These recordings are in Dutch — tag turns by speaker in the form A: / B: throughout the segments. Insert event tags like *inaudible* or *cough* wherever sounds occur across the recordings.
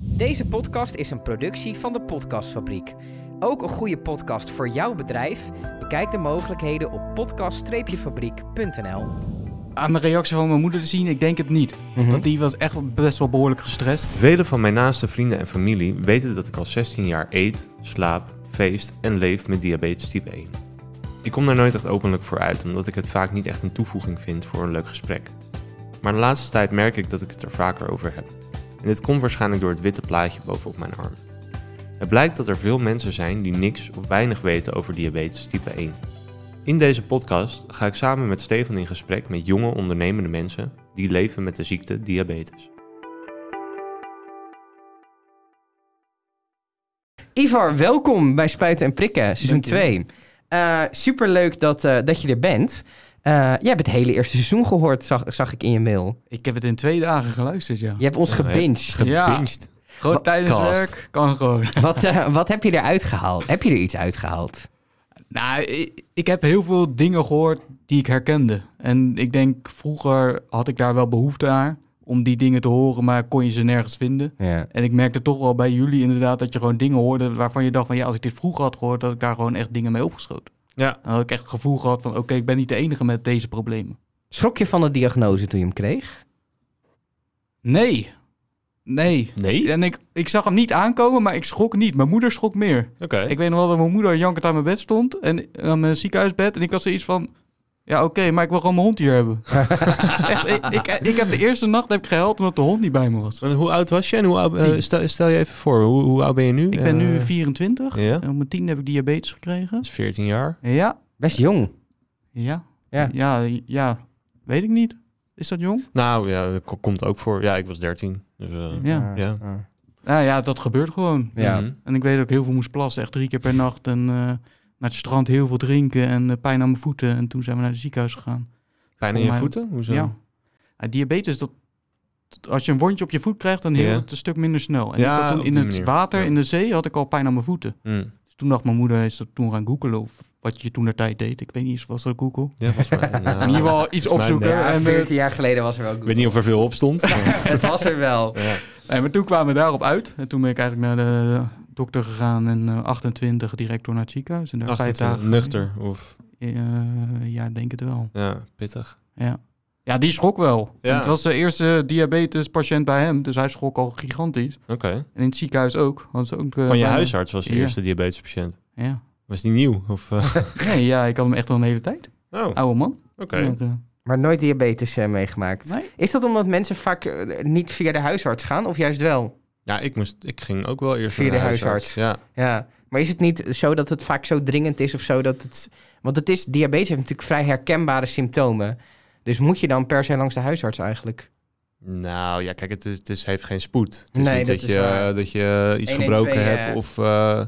A: Deze podcast is een productie van de Podcastfabriek. Ook een goede podcast voor jouw bedrijf? Bekijk de mogelijkheden op podcast-fabriek.nl.
B: Aan de reactie van mijn moeder te zien, ik denk het niet. Want die was echt best wel behoorlijk gestrest.
C: Vele van mijn naaste vrienden en familie weten dat ik al 16 jaar eet, slaap, feest en leef met diabetes type 1. Ik kom daar nooit echt openlijk voor uit, omdat ik het vaak niet echt een toevoeging vind voor een leuk gesprek. Maar de laatste tijd merk ik dat ik het er vaker over heb. En dit komt waarschijnlijk door het witte plaatje bovenop mijn arm. Het blijkt dat er veel mensen zijn die niks of weinig weten over diabetes type 1. In deze podcast ga ik samen met Stefan in gesprek met jonge ondernemende mensen die leven met de ziekte diabetes.
A: Ivar, welkom bij Spuiten en Prikken, seizoen 2. Super leuk dat, eh, dat je er bent. Eh, jij hebt het hele eerste seizoen gehoord, zag, zag ik in je mail.
B: Ik heb het in twee dagen geluisterd, ja.
A: Je hebt ons
C: Ja, ja.
A: gebinged.
B: Ja.
C: Gebinged.
B: Gewoon tijdens
A: Podcast.
B: werk, kan gewoon. *laughs*
A: Wat, eh, wat heb je eruit gehaald? Heb je er iets uitgehaald?
B: Nou, ik, ik heb heel veel dingen gehoord die ik herkende. En ik denk, vroeger had ik daar wel behoefte aan om die dingen te horen, maar kon je ze nergens vinden.
A: Ja.
B: En ik merkte toch wel bij jullie inderdaad dat je gewoon dingen hoorde waarvan je dacht van ja, als ik dit vroeger had gehoord, dat ik daar gewoon echt dingen mee opgeschoten.
C: Ja.
B: En dat ik echt het gevoel gehad van oké, ik ben niet de enige met deze problemen.
A: Schrok je van de diagnose toen je hem kreeg?
B: Nee. Nee.
C: Nee?
B: En ik, ik zag hem niet aankomen, maar ik schrok niet. Mijn moeder schrok meer.
C: Oké.
B: Ik weet nog wel dat mijn moeder jankend aan mijn bed stond. En aan mijn ziekenhuisbed. En ik had zoiets van... Ja, oké, maar ik wil gewoon mijn hond hier hebben.
C: *laughs*
B: Echt, ik, ik, ik heb de eerste nacht heb ik gehuild omdat de hond niet bij me was.
C: Want Hoe oud was je en hoe oud, eh,
B: Tien.
C: stel, stel je even voor, hoe, hoe oud ben je nu?
B: Ik ben nu
C: Eh,
B: 24.
C: Ja,
B: En om mijn tien heb ik diabetes gekregen.
C: dat is 14 jaar.
B: Ja,
A: Best jong.
B: ja.
A: Ja.
B: Ja, ja. Weet ik niet. Is dat jong?
C: Nou ja, dat ko- komt ook voor. Ja, ik was 13. Dus, eh,
B: Ja.
C: Ja.
B: Nou ja, dat gebeurt gewoon.
A: Ja.
C: mhm.
B: En ik weet dat ik heel veel moest plassen. Echt drie keer per nacht. En eh, naar het strand heel veel drinken. En eh, pijn aan mijn voeten. En toen zijn we naar het ziekenhuis gegaan.
C: Pijn in
B: Voor
C: je
B: mij-
C: voeten? Hoezo?
B: Ja. Ja, diabetes, dat, dat- als je een wondje op je voet krijgt, dan heelt
C: Ja.
B: het een stuk minder snel. En
C: Ja,
B: ik had
C: op
B: toen in
C: die
B: het
C: manier.
B: water,
C: Ja.
B: in de zee, had ik al pijn aan mijn voeten.
C: Mm.
B: Dus toen dacht mijn moeder, is dat toen gaan googelen of wat je toen de tijd deed. Ik weet niet eens, was dat Google?
C: Ja,
B: *laughs*
C: volgens mij. nou,
B: in ieder geval iets
C: volgens mij
B: opzoeken.
C: net.
B: en, eh,
A: 14 jaar geleden was er wel
C: Ik weet niet of er veel op
B: *laughs*
C: stond. maar-
A: *laughs* Het was er wel.
C: ja.
B: nee, maar toen kwamen we daarop uit. En toen ben ik eigenlijk naar de eh, dokter gegaan en eh, 28 direct door naar het ziekenhuis. En daar vijf
C: 28,
B: dagen.
C: nuchter of
B: Eh, ja, ik denk het wel.
C: ja, pittig.
B: Ja. Ja, die schrok wel.
C: Ja.
B: Het was de eerste diabetespatiënt bij hem, dus hij schrok al gigantisch.
C: Oké.
B: En in het ziekenhuis ook. Hadden ze ook eh,
C: Van je
B: bijna-
C: huisarts was de
B: Ja.
C: eerste diabetespatiënt.
B: Ja.
C: Was die nieuw?
B: *laughs*
C: Of, eh,
B: Nee, ja, ik had hem echt al een hele tijd.
C: Oh, oké.
B: Oude man. Ja, eh,
A: Maar nooit diabetes eh, meegemaakt.
B: Nee.
A: Is dat omdat mensen vaak eh, niet via de huisarts gaan? Of juist wel?
C: Ja, ik, moest, ik ging ook wel eerst
A: Via
C: naar de
A: de
C: huisarts. Ja.
A: Ja. Maar is het niet zo dat het vaak zo dringend is of zo? Dat het... Want het is, diabetes heeft natuurlijk vrij herkenbare symptomen. Dus moet je dan per se langs de huisarts eigenlijk?
C: Nou ja, kijk, het, is, het is, heeft geen spoed. Het is
A: Nee,
C: niet
A: dat
C: dat,
A: is
C: je,
A: waar.
C: dat je iets
A: 112,
C: gebroken
A: eh.
C: hebt of... eh,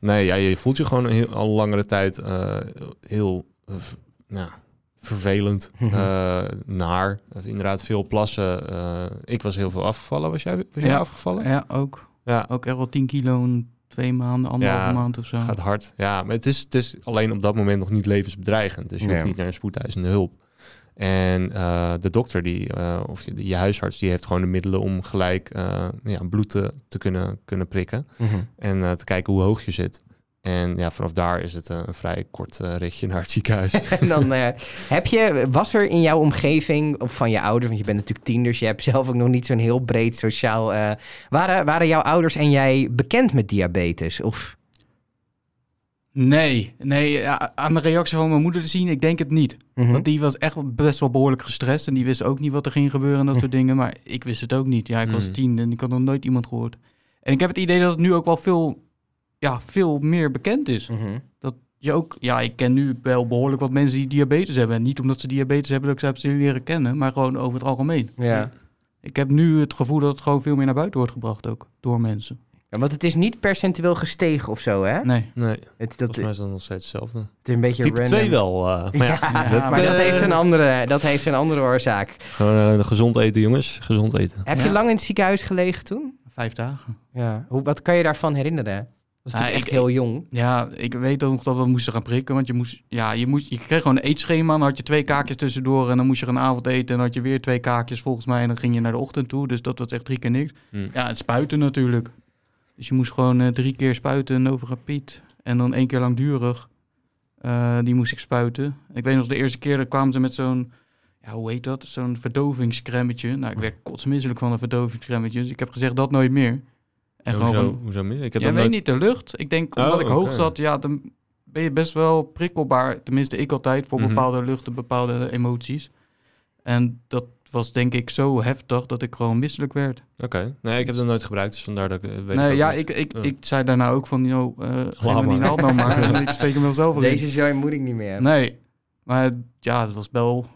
C: nee, ja, je voelt je gewoon heel, al langere tijd eh, heel eh, v- nou, vervelend,
A: Mhm. *laughs*
C: eh, naar. Inderdaad, veel plassen. eh, ik was heel veel afgevallen. Was jij, was jij
B: Ja.
C: afgevallen?
B: ja, ook.
C: Ja.
B: Ook echt wel 10 kilo in twee maanden, anderhalve
C: Ja,
B: maand of zo.
C: Gaat hard. Ja, maar het is, het is alleen op dat moment nog niet levensbedreigend. Dus je hoeft
A: Nee.
C: niet naar een spoedeisende hulp. En eh, de dokter, die, eh, of je, je huisarts, die heeft gewoon de middelen om gelijk eh, ja, bloed te, te kunnen, kunnen prikken.
A: Mhm.
C: En eh, te kijken hoe hoog je zit. En ja, vanaf daar is het eh, een vrij kort eh ritje naar het ziekenhuis.
A: *laughs* En dan eh, heb je, was er in jouw omgeving, of van je ouders, want je bent natuurlijk tien, dus je hebt zelf ook nog niet zo'n heel breed sociaal. eh, waren, waren jouw ouders en jij bekend met diabetes? Of
B: Nee, nee, ja, aan de reactie van mijn moeder te zien, ik denk het niet.
A: Mhm.
B: Want die was echt best wel behoorlijk gestrest en die wist ook niet wat er ging gebeuren en dat soort dingen. Maar ik wist het ook niet. Ja, ik was
C: Mm.
B: tien en ik had nog nooit iemand gehoord. En ik heb het idee dat het nu ook wel veel, ja, veel meer bekend is.
A: Mhm.
B: Dat je ook, ja, ik ken nu wel behoorlijk wat mensen die diabetes hebben. En niet omdat ze diabetes hebben dat ik ze heb ze leren kennen, maar gewoon over het algemeen.
A: ja.
B: Ik heb nu het gevoel dat het gewoon veel meer naar buiten wordt gebracht ook door mensen.
A: Ja, want het is niet percentueel gestegen of zo, hè?
B: Nee.
C: *laughs* Nee,
A: Het, dat,
C: volgens mij
A: het
C: is dat nog steeds hetzelfde.
A: is een beetje
C: Type
A: random.
C: 2
A: *laughs*
C: wel. eh, maar ja,
A: Ja,
B: dat,
A: maar dat
C: eh,
A: heeft, een andere, dat heeft een andere oorzaak.
C: gewoon eh, gezond eten, jongens. Gezond eten.
A: Heb je
B: Ja.
A: lang in het ziekenhuis gelegen toen?
B: Vijf dagen.
A: Ja. Hoe, wat kan je daarvan herinneren? was
B: Ah,
A: natuurlijk echt
B: ik-
A: heel jong.
B: Ja, ik weet dat nog dat we moesten gaan prikken. Want je, moest, ja, je, moest, je kreeg gewoon een eetschema. Dan had je twee kaakjes tussendoor. En dan moest je een avond eten. En dan had je weer twee kaakjes volgens mij. En dan ging je naar de ochtend toe. Dus dat was echt drie keer niks.
C: Hm.
B: Ja, het spuiten natuurlijk. Dus je moest gewoon eh, drie keer spuiten. En over een piet. En dan één keer langdurig. Eh, die moest ik spuiten. Ik weet nog de eerste keer. dat kwamen ze met zo'n. Ja, hoe heet dat? Zo'n verdovingscremmetje. Nou, ik werd kotsmisselijk van een verdovingscremmetje. Dus ik heb gezegd dat nooit meer. En gewoon van-
C: hoezo, hoezo mis? Ik heb
B: ja,
C: dat
B: weet niet,
C: nooit...
B: de lucht. Ik denk,
C: Oh,
B: omdat ik hoog
C: oké.
B: zat, ja, dan ben je best wel prikkelbaar. Tenminste, ik altijd, voor
C: Mhm.
B: bepaalde luchten, bepaalde emoties. En dat was denk ik zo heftig dat ik gewoon misselijk werd.
C: Oké. Nee, ik heb dat nooit gebruikt, dus vandaar dat ik eh, weet
B: nee,
C: ook
B: ja,
C: niet.
B: ik,
C: Oh.
B: ik,
C: Ja.
B: ik zei daarna ook van, joh, eh
C: Laat
B: geef me die
C: maar.
B: naald nou
C: *laughs*
B: maar. en ik steek hem wel zelf wel in.
A: Deze zooi moet ik niet meer hebben.
B: Nee, maar ja, het was wel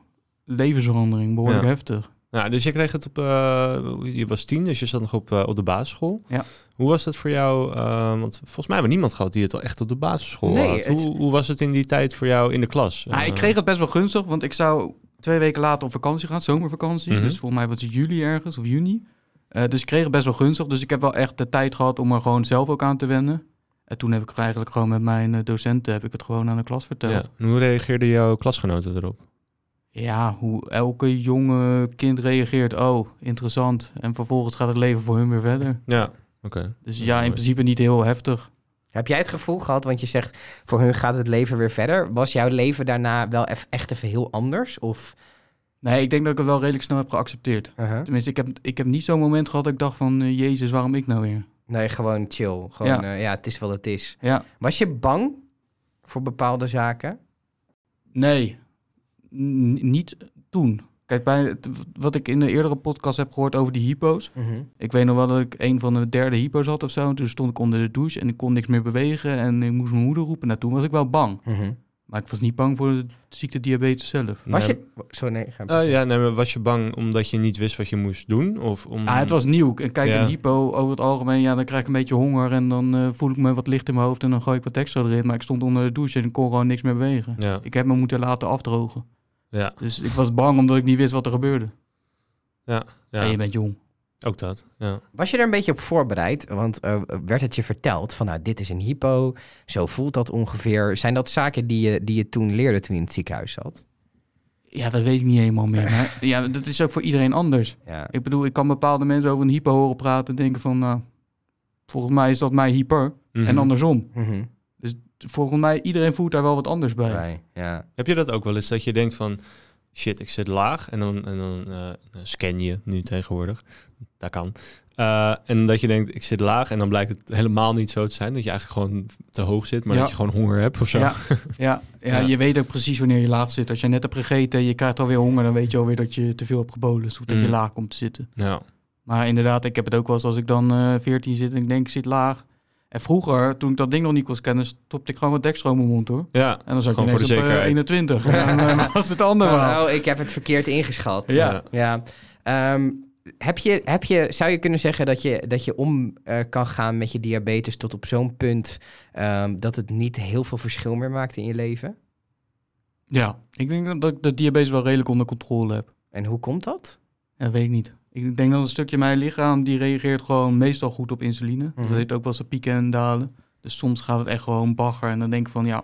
B: levensverandering, behoorlijk
C: Ja.
B: heftig.
C: Nou, dus je kreeg het op... eh, je was tien, dus je zat nog op, eh, op de basisschool.
B: Ja.
C: Hoe was dat voor jou? eh, want volgens mij hebben we niemand gehad die het al echt op de basisschool
A: Nee,
C: had.
A: het-
C: Hoe, hoe was het in die tijd voor jou in de klas?
B: Nou, ik
C: Eh,
B: kreeg het best wel gunstig, want ik zou twee weken later op vakantie gaan, zomervakantie.
C: Mhm.
B: Dus volgens mij was het juli ergens of juni. Eh, dus ik kreeg het best wel gunstig. Dus ik heb wel echt de tijd gehad om er gewoon zelf ook aan te wennen. En toen heb ik eigenlijk gewoon met mijn eh, docenten heb ik het gewoon aan de klas verteld.
C: ja. En Hoe reageerden jouw klasgenoten erop?
B: Ja, hoe elke jonge kind reageert. Oh, interessant. En vervolgens gaat het leven voor hun weer verder.
C: Ja, oké.
B: Dus
C: Ja,
B: ja,
C: mooi.
B: in principe niet heel heftig.
A: Heb jij het gevoel gehad, want je zegt voor hun gaat het leven weer verder. Was jouw leven daarna wel eff- echt even heel anders? Of,
B: Nee, ik denk dat ik het wel redelijk snel heb geaccepteerd.
A: Uh-huh.
B: Tenminste, ik heb, ik heb niet zo'n moment gehad dat ik dacht van... eh, Jezus, waarom ik nou weer?
A: Nee, gewoon chill. Gewoon, eh,
B: Ja.
A: ja. ja, het is wat het is.
B: Ja.
A: Was je bang voor bepaalde zaken?
B: Nee, N- niet toen. Kijk, bij het- wat ik in de eerdere podcast heb gehoord over die hypo's. Ik weet nog wel dat ik een van de derde hypo's had of zo. En toen stond ik onder de douche en ik kon niks meer bewegen. En ik moest mijn moeder roepen. Nou, toen was ik wel bang.
A: Mhm.
B: Maar ik was niet bang voor de ziekte diabetes zelf.
A: Was
C: Nee.
A: je... Sorry, nee. ga-
C: Eh, ja, nee, maar was je bang omdat je niet wist wat je moest doen? Of om...
B: Ah, het was nieuw. En kijk,
C: Mm. Ja.
B: een hypo over het algemeen, ja, dan krijg ik een beetje honger. En dan eh, voel ik me wat licht in mijn hoofd en dan gooi ik wat extra erin. Maar ik stond onder de douche en ik kon gewoon niks meer bewegen.
C: Ja,
B: Ik heb me moeten laten afdrogen.
C: ja,
B: Dus ik was bang omdat ik niet wist wat er gebeurde.
C: ja.
B: En je bent jong.
C: ook dat. Ja.
A: Was je er een beetje op voorbereid? Want eh, werd het je verteld van, nou, dit is een hypo, zo voelt dat ongeveer. Zijn dat zaken die je, die je toen leerde toen je in het ziekenhuis zat?
B: Ja, dat weet ik niet helemaal meer. Maar *laughs* ja, dat is ook voor iedereen anders.
A: Ja.
B: Ik bedoel, ik kan bepaalde mensen over een hyper horen praten en denken van, nou, volgens mij is dat mijn hyper. En
C: Mhm.
B: andersom.
A: Mhm.
B: Volgens mij, iedereen voelt daar wel wat anders bij.
A: Bij, ja.
C: Heb je dat ook wel eens dat je denkt van shit, ik zit laag en dan, en dan eh, scan je nu tegenwoordig. Dat kan. Eh, en dat je denkt, ik zit laag en dan blijkt het helemaal niet zo te zijn. Dat je eigenlijk gewoon te hoog zit, maar
B: Ja.
C: dat je gewoon honger hebt of zo. *laughs*
B: Ja, ja, ja,
C: Ja.
B: je weet ook precies wanneer je laag zit. Als je net hebt gegeten en je krijgt alweer honger, dan weet je alweer dat je te veel hebt gebolen. Dus dat je
C: Mm.
B: laag komt te zitten.
C: Ja.
B: Maar inderdaad, ik heb het ook wel eens als ik dan eh 14 zit en ik denk ik zit laag. En vroeger, toen ik dat ding nog niet kon scannen, stopte ik gewoon wat dekstroom in mijn mond hoor.
C: ja.
B: En dan zat ik
C: Gewoon
B: ineens
C: voor de
B: op eh,
C: zekerheid.
B: 21.
C: *laughs*
B: En dan eh, was het ander wel.
A: Nou, ik heb het verkeerd ingeschat.
B: Ja.
A: Ja. Ehm, heb je, heb je, zou je kunnen zeggen dat je, dat je om eh, kan gaan met je diabetes tot op zo'n punt ehm, dat het niet heel veel verschil meer maakt in je leven?
B: Ja, ik denk dat ik de diabetes wel redelijk onder controle heb.
A: En hoe komt dat?
B: Ja, Dat weet ik niet. Ik denk dat een stukje mijn lichaam, die reageert gewoon meestal goed op insuline.
A: Mhm.
B: Dat heet ook wel zijn pieken en dalen. Dus soms gaat het echt gewoon bagger. En dan denk ik van, ja,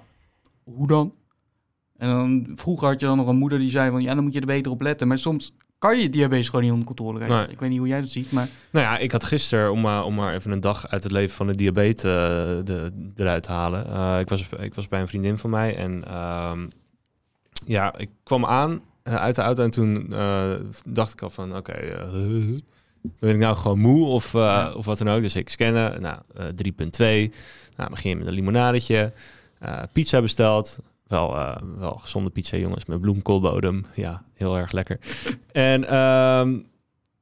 B: hoe dan? En dan, vroeger had je dan nog een moeder die zei van, ja, dan moet je er beter op letten. Maar soms kan je diabetes gewoon niet onder controle krijgen.
C: Nee.
B: Ik weet niet hoe jij dat ziet, maar...
C: Nou ja, ik had gisteren, om, maar- om maar even een dag uit het leven van de diabetes eh, de, eruit te halen. Eh, ik, was, ik was bij een vriendin van mij en ehm, ja, ik kwam aan eh, uit de auto en toen eh, dacht ik al van, oké, eh, *laughs* ben ik nou gewoon moe of, eh,
B: Ja.
C: of wat dan ook. Dus ik scannen, nou, eh, 3.2, nou, begin je met een limonadetje, eh, pizza besteld. Wel, eh, wel gezonde pizza, jongens, met bloemkoolbodem. Ja, heel erg lekker. en ehm,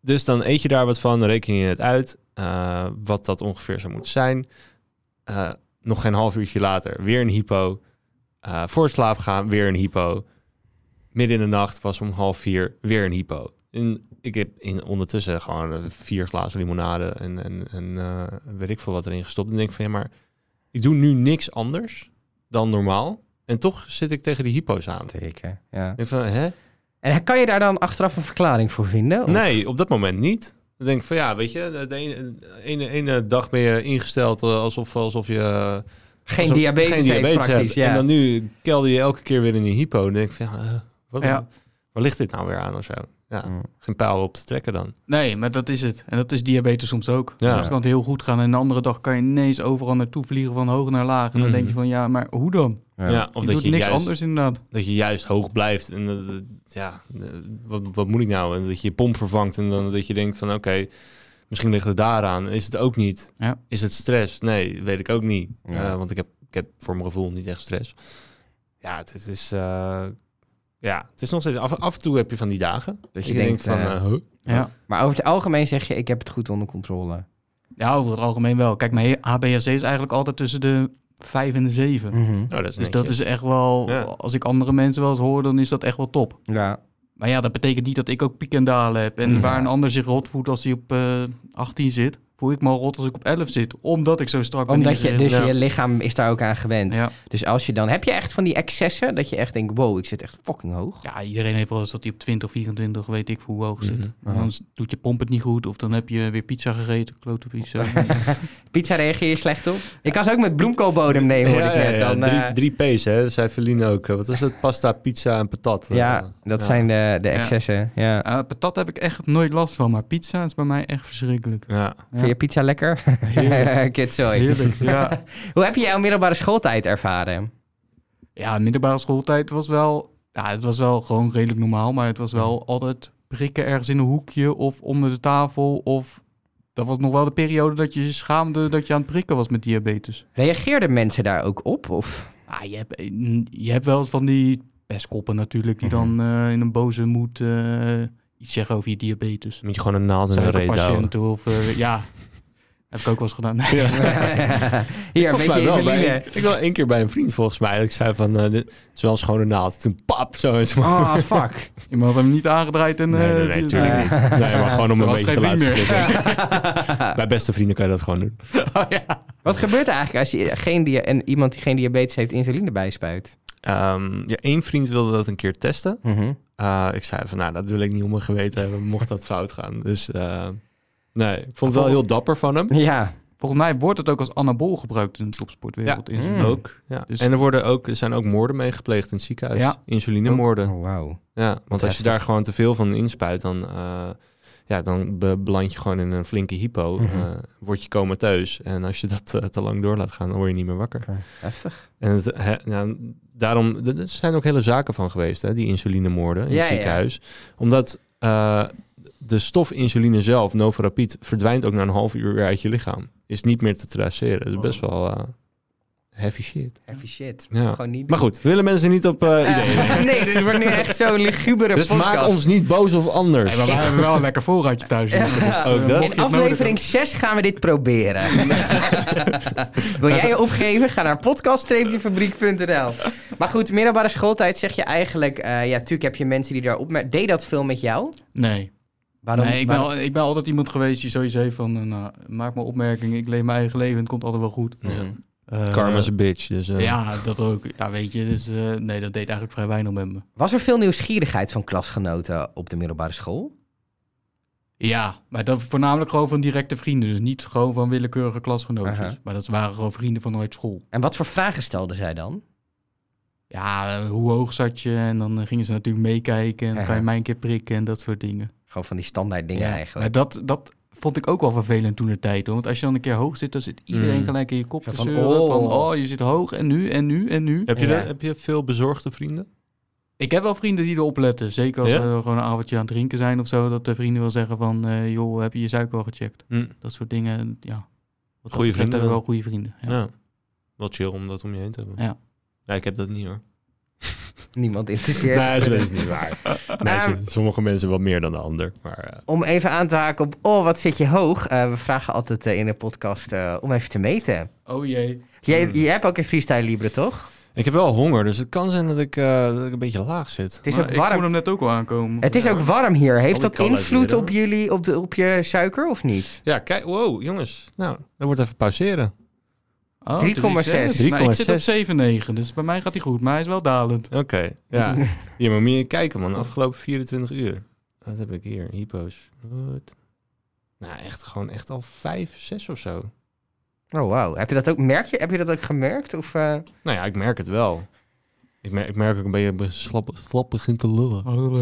C: dus dan eet je daar wat van, dan reken je het uit, eh, wat dat ongeveer zou moeten zijn. Eh, nog geen half uurtje later, weer een hypo. Eh, voor het slaap gaan, weer een hypo. Midden in de nacht was om half vier, weer een hypo. En ik heb in, ondertussen gewoon eh, vier glazen limonade en, en, en eh, weet ik veel wat erin gestopt. En denk ik van, ja, maar ik doe nu niks anders dan normaal. En toch zit ik tegen die hypo's aan.
A: Zeker, ja.
C: Ik van, hè?
B: Oh.
A: En kan je daar dan achteraf een verklaring voor vinden? Of-
C: Nee, op dat moment niet. Dan denk ik van ja, weet je, de ene, ene, ene dag ben je ingesteld eh, alsof, alsof je eh,
A: Geen
C: alsof-
A: diabetes, heeft praktisch.
C: hebt.
A: Ja.
C: En dan nu kelder je elke keer weer in die hypo. Dan denk ik van ja, eh, wat,
B: Ja.
C: waar ligt dit nou weer aan of zo? Ja,
A: Mm.
C: geen pijl op te trekken dan.
B: Nee, maar dat is het. En dat is diabetes soms ook.
C: Ja.
B: Soms kan het heel goed gaan en de andere dag kan je ineens overal naartoe vliegen van hoog naar laag. En dan
C: Mhm.
B: denk je van ja, maar hoe dan?
C: Ja. of
B: je
C: dat
B: doet
C: je,
B: niks
C: juist,
B: anders inderdaad.
C: dat je juist hoog blijft. En eh, eh, ja, eh, wat, wat moet ik nou? En dat je je pomp vervangt en dan dat je denkt van oké, misschien ligt het daaraan. Is het ook niet?
B: Ja.
C: Is het stress? Nee, weet ik ook niet.
A: Ja.
C: Eh, want ik heb, ik heb voor mijn gevoel niet echt stress. Ja, het, het is... eh, ja, het is nog steeds... Af, af en toe heb je van die dagen.
A: Dus
C: Dat
A: je denkt,
C: van...
A: eh,
C: eh, huh?
B: Ja.
A: Maar over het algemeen zeg je, ik heb het goed onder controle.
B: ja, over het algemeen wel. Kijk, mijn HbA1c is eigenlijk altijd tussen de 5 en de 7.
A: Mhm.
C: Nou, dat is
B: Dus dat
C: netjes.
B: is echt wel,
C: Ja.
B: als ik andere mensen wel eens hoor, dan is dat echt wel top.
A: Ja.
B: Maar ja, dat betekent niet dat ik ook piek en dalen heb. En
A: Ja.
B: waar een ander zich rot voelt als hij op eh, 18 zit, voel ik me al rot als ik op 11 zit. Omdat ik zo strak ben
A: Omdat je, dus
B: ingericht.
C: Ja.
A: je lichaam is daar ook aan gewend.
B: ja.
A: Dus als je dan... Heb je echt van die excessen dat je echt denkt, wow, ik zit echt fucking hoog?
B: ja, iedereen heeft wel eens dat hij op 20, 24, weet ik hoe hoog zit.
C: Mhm.
B: En Dan s- doet je pomp het niet goed of dan heb je weer pizza gegeten, klote pizza.
A: Pizza reageer je slecht op? Je kan ze ook met bloemkoolbodem nemen, hoorde
C: Ja,
A: ik net.
C: ja, ja,
A: dan, eh,
C: drie, drie P's, hè. Zij verliezen ook. eh, Wat was het? Pasta, pizza en patat. Eh,
A: ja, dat
C: ja.
A: zijn de, de
B: Ja.
A: excessen. Ja.
B: Eh, patat heb ik echt nooit last van, maar pizza is bij mij echt verschrikkelijk.
C: Ja.
A: Vind je pizza lekker? *laughs* Kitzooi.
B: Heerlijk, *laughs* ja.
A: Hoe heb je jouw middelbare schooltijd ervaren?
B: Ja, middelbare schooltijd was wel, ja, het was wel gewoon redelijk normaal, maar het was wel altijd prikken ergens in een hoekje of onder de tafel of... Dat was nog wel de periode dat je je schaamde dat je aan het prikken was met diabetes.
A: Reageerden mensen daar ook op? Of?
B: Ah, je, hebt, je hebt wel eens van die pestkoppen natuurlijk, die dan eh, in een boze moed eh, iets zeggen over je diabetes.
C: Dan moet je gewoon een naald in de reet houden.
B: patiënt of
C: *laughs*
B: eh, ja, heb ik ook wel eens gedaan. Nee.
A: *laughs*
C: Ja.
A: Hier, een
C: Volgens
A: beetje
C: mij wel. Bij,
A: insuline.
C: ik ik wel één keer bij een vriend volgens mij. Ik zei van, eh, dit is wel een schone naald. Toen pap, zo is maar.
A: Oh, fuck.
B: Iemand had hem niet aangedraaid en
C: Nee, nee,
B: eh,
C: nee,
B: die-
C: natuurlijk
A: eh,
C: niet. Nee, maar gewoon
B: *laughs*
C: om
B: Er
C: een
B: was
C: beetje te
B: geen
C: laten
B: vriend meer.
C: schrikken. Bij beste vrienden kan je dat gewoon doen.
A: Wat gebeurt er eigenlijk als je geen dia- en iemand die geen diabetes heeft insuline bijspuit?
C: Ehm, ja, één vriend wilde dat een keer testen. Eh, ik zei van, nou, dat wil ik niet om mijn geweten hebben, mocht dat fout gaan. Dus eh, nee, ik vond het wel heel dapper van hem.
A: Ja.
B: Volgens mij wordt het ook als anabol gebruikt in de topsportwereld.
A: Ja.
B: in zo'n-
A: Mm.
C: Ook, ja.
B: Dus-
C: En er, worden ook, er zijn ook moorden mee gepleegd in het ziekenhuis.
B: Ja.
C: Insulinemoorden.
A: Oh, wauw.
C: Ja, want als je
A: heftig.
C: daar gewoon te veel van inspuit, dan, eh, ja, dan be- beland je gewoon in een flinke hypo.
A: Mhm.
C: Eh, word je comateus. En als je dat eh, te lang door laat gaan, dan word je niet meer wakker.
A: Heftig.
C: En het, hè, nou, daarom, er er zijn ook hele zaken van geweest, hè, die insulinemoorden in
A: Ja,
C: het
A: ja.
C: ziekenhuis. Omdat eh, de stof insuline zelf, novorapid, verdwijnt ook na een half uur weer uit je lichaam. Is niet meer te traceren. Dat is best wel eh, heavy shit.
A: Heavy shit.
C: Ja.
A: Gewoon niet
C: Maar goed, we willen mensen niet op eh,
A: doen.
C: ideeën.
A: *laughs* Eh, nee, dit wordt nu echt zo'n ligubere
C: Dus
A: podcast.
C: maak ons niet boos of
B: Nee,
C: anders.
A: Dus-
B: maar wij hebben wel een lekker voorraadje thuis.
A: Ja.
B: Dus, eh,
C: Ook
B: mocht
C: dat?
B: je
A: In
B: het nodig
A: aflevering 6 gaan we dit proberen.
C: *laughs*
A: Wil jij je opgeven? Ga naar podcast-fabriek.nl. Maar goed, middelbare schooltijd zeg je eigenlijk... eh, ja, tuurlijk heb je mensen die daar opmerken. Deed dat veel met jou?
B: hebben. Nee,
A: Waarom,
B: nee ik, ben,
A: waarom-
B: al- ik ben altijd iemand geweest die sowieso heeft van... eh, nou, maak maar opmerkingen, ik leef mijn eigen leven, het komt altijd wel goed.
C: Ja.
B: Eh,
C: Karma's a bitch. Dus, eh,
B: Ja, dat ook. Ja, weet je, dus eh, nee, dat deed eigenlijk vrij weinig met me.
A: Was er veel nieuwsgierigheid van klasgenoten op de middelbare school?
B: Ja, maar dat voornamelijk gewoon van directe vrienden. Dus niet gewoon van willekeurige klasgenootjes.
A: Aha.
B: Maar dat waren gewoon vrienden van nooit school.
A: En wat voor vragen stelden zij dan?
B: Ja, eh, hoe hoog zat je? En dan eh, gingen ze natuurlijk meekijken. En dan kan
A: Aha.
B: je mij een keer prikken en dat soort dingen.
A: Gewoon van die standaard dingen
B: ja,
A: eigenlijk.
B: Maar dat, dat vond ik ook wel vervelend toen de tijd. hoor. Want als je dan een keer hoog zit, dan zit iedereen
C: Mm.
B: gelijk in je kop.
A: Zo
B: Te
A: van,
B: zeuren,
A: oh.
B: van, oh, je zit hoog en nu en nu en nu.
C: Heb, je
A: Ja.
C: de- heb je veel bezorgde vrienden?
B: Ik heb wel vrienden die erop letten. Zeker als
C: Ja?
B: we gewoon een avondje aan het drinken zijn of zo. Dat de vrienden wel zeggen van, eh, joh, heb je je suiker al gecheckt?
C: Hm.
B: Dat soort dingen, ja. Wat dat
C: Goeie
B: betreft
C: vrienden
B: hebben we
C: dan.
B: wel goede vrienden. Ja.
C: Ja. Wel chill om dat om je heen te hebben.
B: Ja.
C: Ja, ik heb dat niet hoor.
A: Niemand interesseert.
C: Nee, dat is niet waar. Eh, Nee,
A: Ehm,
C: s- sommige mensen wat meer dan de ander. Maar eh,
A: Om even aan te haken op, oh, wat zit je hoog? Eh, we vragen altijd eh, in de podcast eh, om even te meten.
B: Oh jee.
A: Jij,
C: Hmm.
A: Je hebt ook een freestyle libre, toch?
C: ik heb wel honger, dus het kan zijn dat ik, eh, dat ik een beetje laag zit.
A: Het is
B: Maar
A: ook
B: ik
A: warm.
B: voel hem net ook al aankomen.
A: Het is
C: Ja.
A: ook warm hier. Heeft
C: Al die
A: dat
C: kallen
A: invloed
C: weer,
A: op
C: hoor.
A: jullie, op, de, op je suiker of niet?
C: Ja, kijk, wow, jongens. Nou, dat wordt even pauzeren.
B: Oh,
A: 3,6.
B: 3,6. Nou, ik
C: 3,6.
B: zit op 7,9, dus bij mij gaat hij goed. Maar hij is wel dalend.
C: Oké, *laughs* ja. Hier, maar moet je kijken, man. Afgelopen 24 uur. Wat heb ik hier? Hypo's. Wat? Nou, echt gewoon echt al vijf, zes of zo.
A: *laughs* Oh, wauw. Heb je dat ook, merk je, heb je dat ook gemerkt? Of, eh,
C: Nou ja, ik merk het wel. Ik merk, ik merk ook een beetje slap, slap begint te lullen.
B: Oh,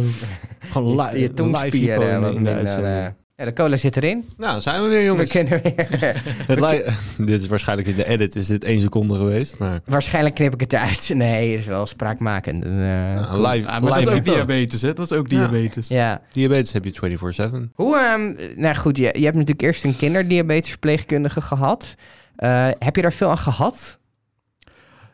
C: Gewoon li-
A: je, je tongspieren.
C: live hypo in, Nou, in de
A: wat minder,
C: uitzending.
A: eh. ja, de cola zit erin.
C: Nou, daar zijn we weer,
A: We
C: jongens.
A: kunnen weer... *laughs*
C: Het li- *laughs* dit is waarschijnlijk in de edit, is dit één seconde geweest. Maar
A: Waarschijnlijk knip ik het uit. Nee, is wel spraakmakend. Eh,
C: nou,
A: cool.
C: live,
B: maar dat is
C: live
B: ook
C: hypo.
B: diabetes, hè? Dat is ook
C: Ja.
B: diabetes.
A: Ja.
C: Diabetes heb je 24-7.
A: Hoe, ehm, nou goed, je, je hebt natuurlijk eerst een kinderdiabetesverpleegkundige gehad. Eh, heb je daar veel aan gehad?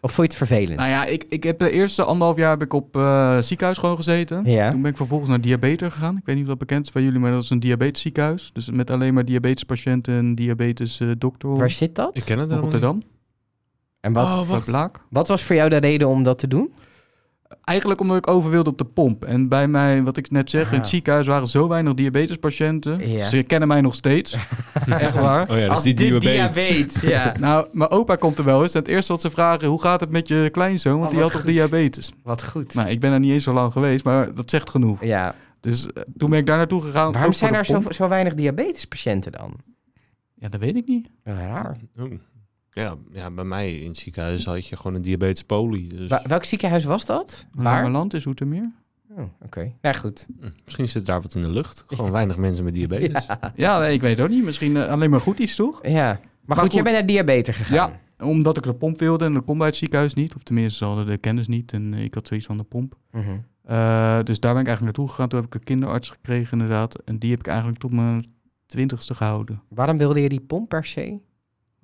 A: Of vond je het vervelend?
B: Nou ja, ik, ik heb de eerste anderhalf jaar heb ik op eh, ziekenhuis gewoon gezeten.
A: Ja.
B: Toen ben ik vervolgens naar diabetes gegaan. Ik weet niet of dat bekend is bij jullie, maar dat is een diabetesziekenhuis. Dus met alleen maar diabetespatiënten en diabetes eh, dokter.
A: Waar zit dat?
C: Ik ken het
B: in
C: helemaal niet.
B: Rotterdam.
A: En wat,
C: Oh,
B: Bij
C: wacht.
B: Blaak.
A: wat was voor jou de reden om dat te doen?
B: Eigenlijk omdat ik over wilde op de pomp. En bij mij, wat ik net zeg, in
A: Ah.
B: het ziekenhuis waren zo weinig diabetespatiënten.
A: Ja.
B: Ze kennen mij nog
A: *laughs*
B: steeds. Echt waar.
C: Oh ja, dat is
A: Als
C: die
A: dit
C: diabetes.
A: diabetes, ja.
B: Nou, mijn opa komt er wel eens. En het eerste wat ze vragen, hoe gaat het met je kleinzoon? Want
A: Oh,
B: die had
A: wat
B: toch
A: goed.
B: diabetes?
A: *laughs* Wat goed.
B: Nou, ik ben er niet eens zo lang geweest, maar dat zegt genoeg.
A: Ja.
B: Dus eh, toen ben ik daar naartoe gegaan. ook
A: Waarom
B: voor
A: zijn
B: de
A: er zo,
B: pomp.
A: zo weinig diabetespatiënten dan?
B: Ja, dat weet ik niet.
A: Raar.
C: Oeh. Ja, ja, bij mij in het ziekenhuis had je gewoon een diabetes poli. Dus
A: Wa- welk ziekenhuis was dat?
B: Waar?
A: Waar?
B: land is Hoetermeer.
A: Oh, Oké, nou goed.
C: hm, misschien zit daar wat in de lucht. Gewoon weinig mensen met diabetes.
B: Ja, nee, ik weet het ook niet. Misschien eh, alleen maar goed iets, toch?
A: Ja. Maar, goed,
B: goed.
A: jij bent naar diabetes gegaan.
B: Ja, omdat ik de pomp wilde en dat kon bij het ziekenhuis niet. Of tenminste, ze hadden de kennis niet en eh, ik had zoiets van de pomp.
A: Mhm.
B: Eh, dus daar ben ik eigenlijk naartoe gegaan. Toen heb ik een kinderarts gekregen inderdaad. En die heb ik eigenlijk tot mijn twintigste gehouden.
A: Waarom wilde je die pomp per se?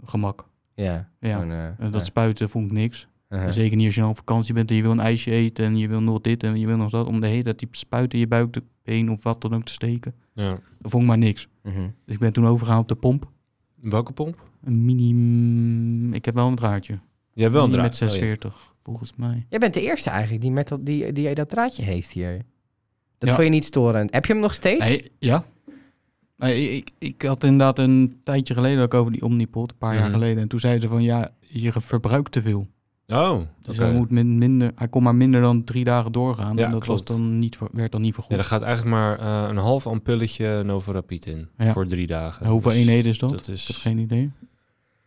B: Gemak.
A: Ja.
B: Ja.
A: gewoon, eh,
B: Eh, dat
A: eh,
B: spuiten vond ik niks.
A: uh-huh.
B: Zeker niet als je dan op vakantie bent en je wil een ijsje eten en je wil nog dit en je wil nog dat. Om de hele tijd die spuiten in je buik, de been of wat dan ook te steken.
C: Ja.
B: Dat vond ik maar niks.
A: Mhm.
B: Dus ik ben toen overgegaan op de pomp.
C: Welke pomp?
B: Een mini... Ik heb wel een draadje.
C: Jij hebt wel een
B: Mini
C: draad.
B: Met
C: Oh, ja.
B: 46, volgens mij.
A: Jij bent de eerste eigenlijk die, met dat, die, die dat draadje heeft hier. Dat
B: Ja.
A: vond je niet storend. Heb je hem nog steeds?
B: Nee, ja. Nee, ik, ik had inderdaad een tijdje geleden ook over die Omnipot, een paar jaar
C: Mhm.
B: geleden. En toen zeiden ze van, ja, je ge- verbruikt te veel.
C: Oh,
B: Dus
C: oké.
B: hij, moet min- minder, hij kon maar minder dan drie dagen doorgaan.
C: Ja,
B: en dat
C: klopt.
B: was dan niet, ver- werd dan niet
C: Ja,
B: vergoed.
C: er gaat eigenlijk maar eh, een half ampulletje Novorapid in
B: Ja.
C: voor drie dagen.
B: En hoeveel
C: Dus
B: eenheden is dat?
C: Dat
B: Ik heb
C: is
B: geen idee.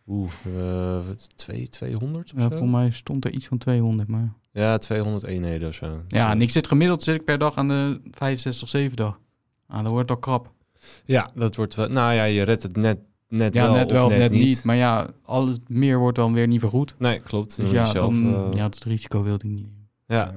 C: oeh, eh, wat, twee, 200 of
B: Ja,
C: zo?
B: voor mij stond er iets van 200, maar...
C: Ja, 200 eenheden of zo.
B: Ja,
C: Zo.
B: en ik zit gemiddeld zit ik per dag aan de 65, 7 dag. Ah, dan wordt het al krap.
C: Ja, dat wordt wel... Nou ja, je redt het net, net
B: Ja,
C: wel
B: net
C: of
B: wel, net, niet.
C: niet.
B: Maar ja, alles meer wordt dan weer niet vergoed.
C: Nee,
B: Dus
C: klopt. Dan moet
B: ja,
C: je zelf,
B: dan,
C: eh,
B: ja, dat risico wilde ik niet.
C: ja.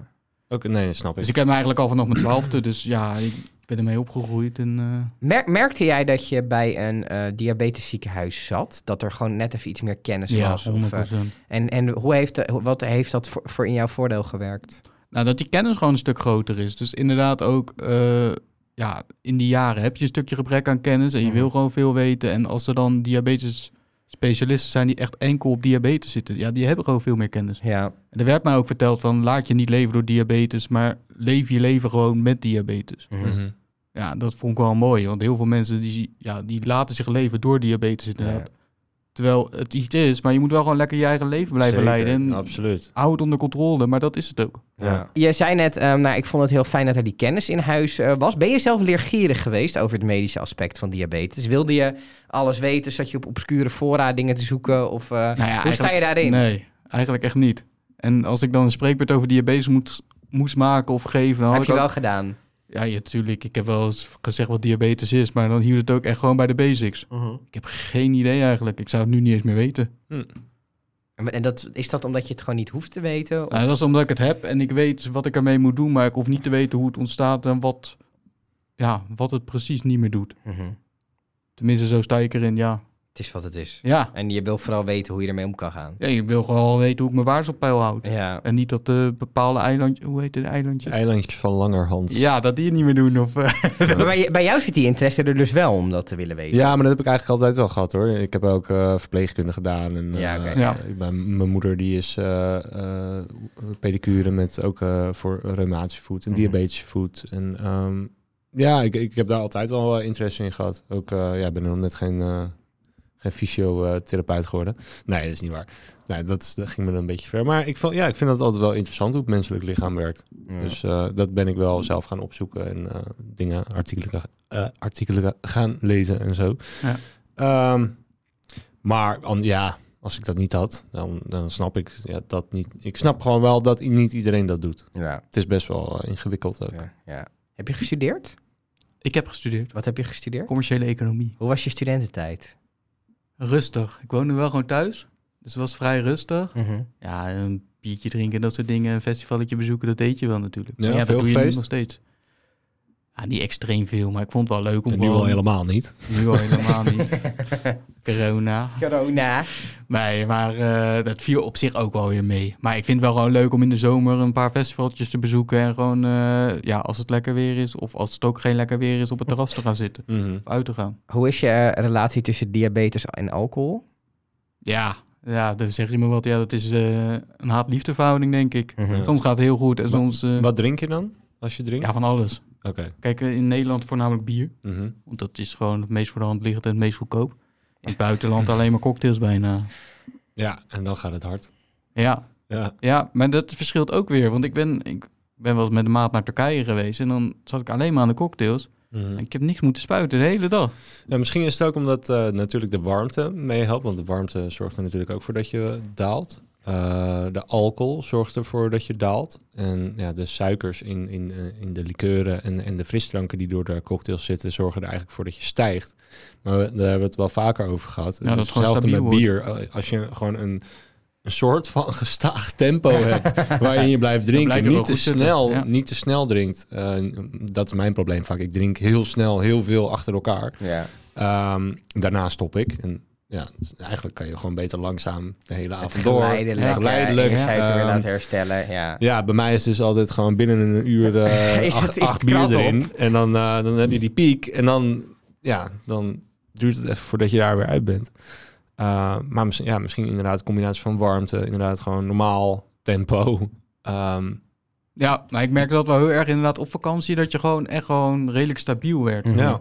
C: Oké, nee, dat snap ik.
B: Dus ik heb hem eigenlijk al vanaf mijn twaalfde. Dus ja, ik ben ermee opgegroeid. En, eh,
A: Mer- merkte jij dat je bij een eh diabetesziekenhuis zat? Dat er gewoon net even iets meer kennis was? of, eh,
B: 100%.
A: en en hoe heeft, de- hoe- wat heeft dat voor, voor in jouw voordeel gewerkt?
B: Nou, dat die kennis gewoon een stuk groter is. Dus inderdaad ook, eh, ja, in die jaren heb je een stukje gebrek aan kennis. En je
A: Mhm.
B: wil gewoon veel weten. En als er dan diabetes specialisten zijn die echt enkel op diabetes zitten. Ja, die hebben gewoon veel meer kennis.
A: Ja.
B: En er werd mij ook verteld van, laat je niet leven door diabetes. Maar leef je leven gewoon met diabetes.
C: Mhm.
B: Ja, dat vond ik wel mooi. Want heel veel mensen die, ja, die laten zich leven door diabetes inderdaad. Terwijl het iets is, maar je moet wel gewoon lekker je eigen leven blijven
C: Zeker,
B: leiden. En
C: Absoluut.
B: hou het onder controle, maar dat is het ook.
C: Ja. Ja.
A: Je zei net, ehm, nou, ik vond het heel fijn dat er die kennis in huis eh, was. Ben je zelf leergierig geweest over het medische aspect van diabetes? Wilde je alles weten? Zat je op obscure fora dingen te zoeken? Of, eh,
B: Nou ja,
A: hoe sta je daarin?
B: Nee, eigenlijk echt niet. En als ik dan een spreekbeurt over diabetes moet, moest maken of geven... Dan had
A: Heb
B: ik
A: je
B: ook-
A: wel gedaan?
B: Ja, ja, tuurlijk. Ik heb wel eens gezegd wat diabetes is, maar dan hield het ook echt gewoon bij de basics. Ik heb geen idee eigenlijk. Ik zou het nu niet eens meer weten.
A: En en dat, is dat omdat je het gewoon niet hoeft te weten? Of-
B: Nou, dat is omdat ik het heb en ik weet wat ik ermee moet doen, maar ik hoef niet te weten hoe het ontstaat en wat, ja, wat het precies niet meer doet.
A: Mhm.
B: Tenminste, zo sta ik erin, ja.
A: Het is wat het is.
B: Ja,
A: En je wil vooral weten hoe je ermee om kan gaan.
B: ja ik wil gewoon weten hoe ik mijn waars op peil houd.
A: Ja.
B: En niet dat de bepaalde eilandje, hoe heet het eilandje?
C: Eilandjes van langerhand.
B: Ja, dat die het niet meer doen. Of, eh,
A: *laughs* Maar bij, bij jou zit die interesse er dus wel om dat te willen weten.
C: Ja, maar dat heb ik eigenlijk altijd wel gehad hoor. Ik heb ook eh, verpleegkunde gedaan. En, eh,
A: Ja, oké.
B: Ja.
C: Ik ben, mijn moeder die is eh, eh, pedicure met ook eh, voor reumatische voet en
A: Mhm.
C: diabetische voet. En ehm, ja, ik, ik heb daar altijd wel eh, interesse in gehad. Ook, eh, ja, ik ben er nog net geen eh, geen fysiotherapeut geworden. Nee, dat is niet waar. Nee, dat, is, dat ging me dan een beetje ver. Maar ik, vond, ja, ik vind dat altijd wel interessant hoe het menselijk lichaam werkt. Dus eh, dat ben ik wel zelf gaan opzoeken en eh, dingen, artikelen, ga- eh, artikelen ga- gaan lezen en zo.
B: Ja.
C: Ehm, maar an- ja, als ik dat niet had, dan, dan snap ik ja, dat niet. Ik snap gewoon wel dat i- niet iedereen dat doet.
A: Ja,
C: Het is best wel eh, ingewikkeld ook.
A: ja, ja. Heb je gestudeerd?
B: Ik heb gestudeerd.
A: Wat heb je gestudeerd?
B: Commerciële economie.
A: Hoe was je studententijd?
B: Rustig. Ik woonde wel gewoon thuis. Dus het was vrij rustig.
C: Mhm.
B: Ja, een biertje drinken, dat soort dingen. Een festivalletje bezoeken, dat deed je wel natuurlijk.
C: Ja,
B: Maar
C: veel
B: dat doe je nu
C: gefeest?
B: nog steeds. Ja, niet extreem veel, maar ik vond het wel leuk om
C: En nu
B: gewoon-
C: al helemaal niet.
B: Nu al helemaal *laughs* niet. Corona.
A: Corona.
B: Nee, maar eh, dat viel op zich ook wel weer mee. Maar ik vind het wel gewoon leuk om in de zomer een paar festivaltjes te bezoeken. En gewoon, eh, ja, als het lekker weer is of als het ook geen lekker weer is, op het terras te gaan zitten.
C: Mhm.
B: Of uit te gaan.
A: Hoe is je eh, relatie tussen diabetes en alcohol?
B: Ja, ja, dan zeg je me wat. Ja, dat is eh, een haat-liefde verhouding, denk ik.
C: Ja.
B: Soms gaat het heel goed en soms... eh,
C: Wat drink je dan als je drinkt?
B: ja, van alles.
C: Oké.
B: Kijk, eh, in Nederland voornamelijk bier.
C: Mhm.
B: Want dat is gewoon het meest voor de hand liggend en het meest goedkoop. In het *laughs* buitenland alleen maar cocktails bijna.
C: Ja, en dan gaat het hard.
B: Ja,
C: Ja.
B: Ja, maar dat verschilt ook weer. Want ik ben, ik ben wel eens met de maat naar Turkije geweest. En dan zat ik alleen maar aan de cocktails.
C: Mhm.
B: En ik heb niks moeten spuiten de hele dag.
C: Ja, misschien is het ook omdat eh, natuurlijk de warmte meehelpt. Want de warmte zorgt er natuurlijk ook voor dat je daalt. Eh, de alcohol zorgt ervoor dat je daalt. En ja, de suikers in, in, eh, in de likeuren en, en de frisdranken die door de cocktails zitten, zorgen er eigenlijk voor dat je stijgt. Maar we- daar hebben we het wel vaker over gehad.
B: Ja, dat
C: is
B: het gewoon
C: hetzelfde met
B: stabiel
C: bier. Eh, Als je gewoon een, een soort van *laughs* gestaag tempo hebt waarin je blijft drinken.
B: blijf je wel
C: Niet te,
B: goed zitten,
C: snel,
B: ja.
C: niet te snel drinkt. Eh, dat is mijn probleem vaak. Ik drink heel snel heel veel achter elkaar.
A: Ja.
C: Ehm, daarna stop ik. En ja, dus eigenlijk kan je gewoon beter langzaam de hele
A: Het
C: avond door.
A: geleidelijk. eh,
C: Ja, geleidelijk.
A: Je suiker weer
C: Ehm,
A: laten herstellen. Ja.
C: ja, bij mij is dus altijd gewoon binnen een uur
A: *laughs*
C: eh,
A: Is het-
C: acht,
A: is het
C: acht bier
A: krat op?
C: erin. En dan, eh, dan heb je die piek. En dan, ja, dan duurt het even voordat je daar weer uit bent. Eh, maar misschien, ja, misschien inderdaad een combinatie van warmte. Inderdaad gewoon normaal tempo. Ehm,
B: Ja, maar ik merk dat wel heel erg inderdaad op vakantie. Dat je gewoon echt gewoon redelijk stabiel werkt.
A: Mhm.
C: Ja.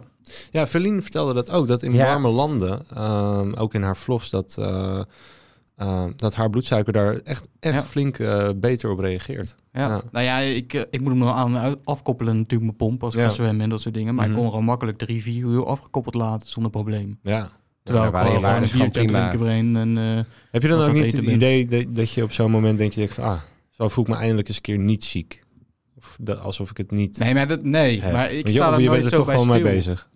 C: ja, Feline vertelde dat ook. Dat in
A: Ja.
C: warme landen, ehm, ook in haar vlogs, dat, eh, ehm, dat haar bloedsuiker daar echt, echt
B: Ja.
C: flink eh, beter op reageert.
B: Ja.
C: Ja.
B: Nou ja, ik, eh, ik moet hem dan aan en uit- afkoppelen natuurlijk mijn pomp als ik
C: Ja.
B: ga zwemmen en dat soort dingen. Maar
C: Mhm.
B: ik kon gewoon makkelijk drie, vier uur afgekoppeld laten zonder probleem.
C: Ja.
B: Terwijl
A: maar
B: ik
A: waar je
B: gewoon
A: waar
B: gewoon
A: is
B: een
A: gewoon
B: biertje aan het
A: prima.
B: drinken ben. En, eh,
C: Heb je dan
B: Wat
C: ook
B: dat
C: niet
B: eten
C: het
B: ben.
C: idee dat, dat je op zo'n moment denk je, denk van, ah, zo voel ik me eindelijk eens een keer niet ziek. Of dat, alsof ik het niet...
B: nee, maar, dat, nee,
C: heb.
B: maar ik
C: Want je-
B: sta
C: je,
B: daar nooit
C: bent er
B: zo
C: toch
B: bij
C: gewoon
B: stil.
C: mee bezig.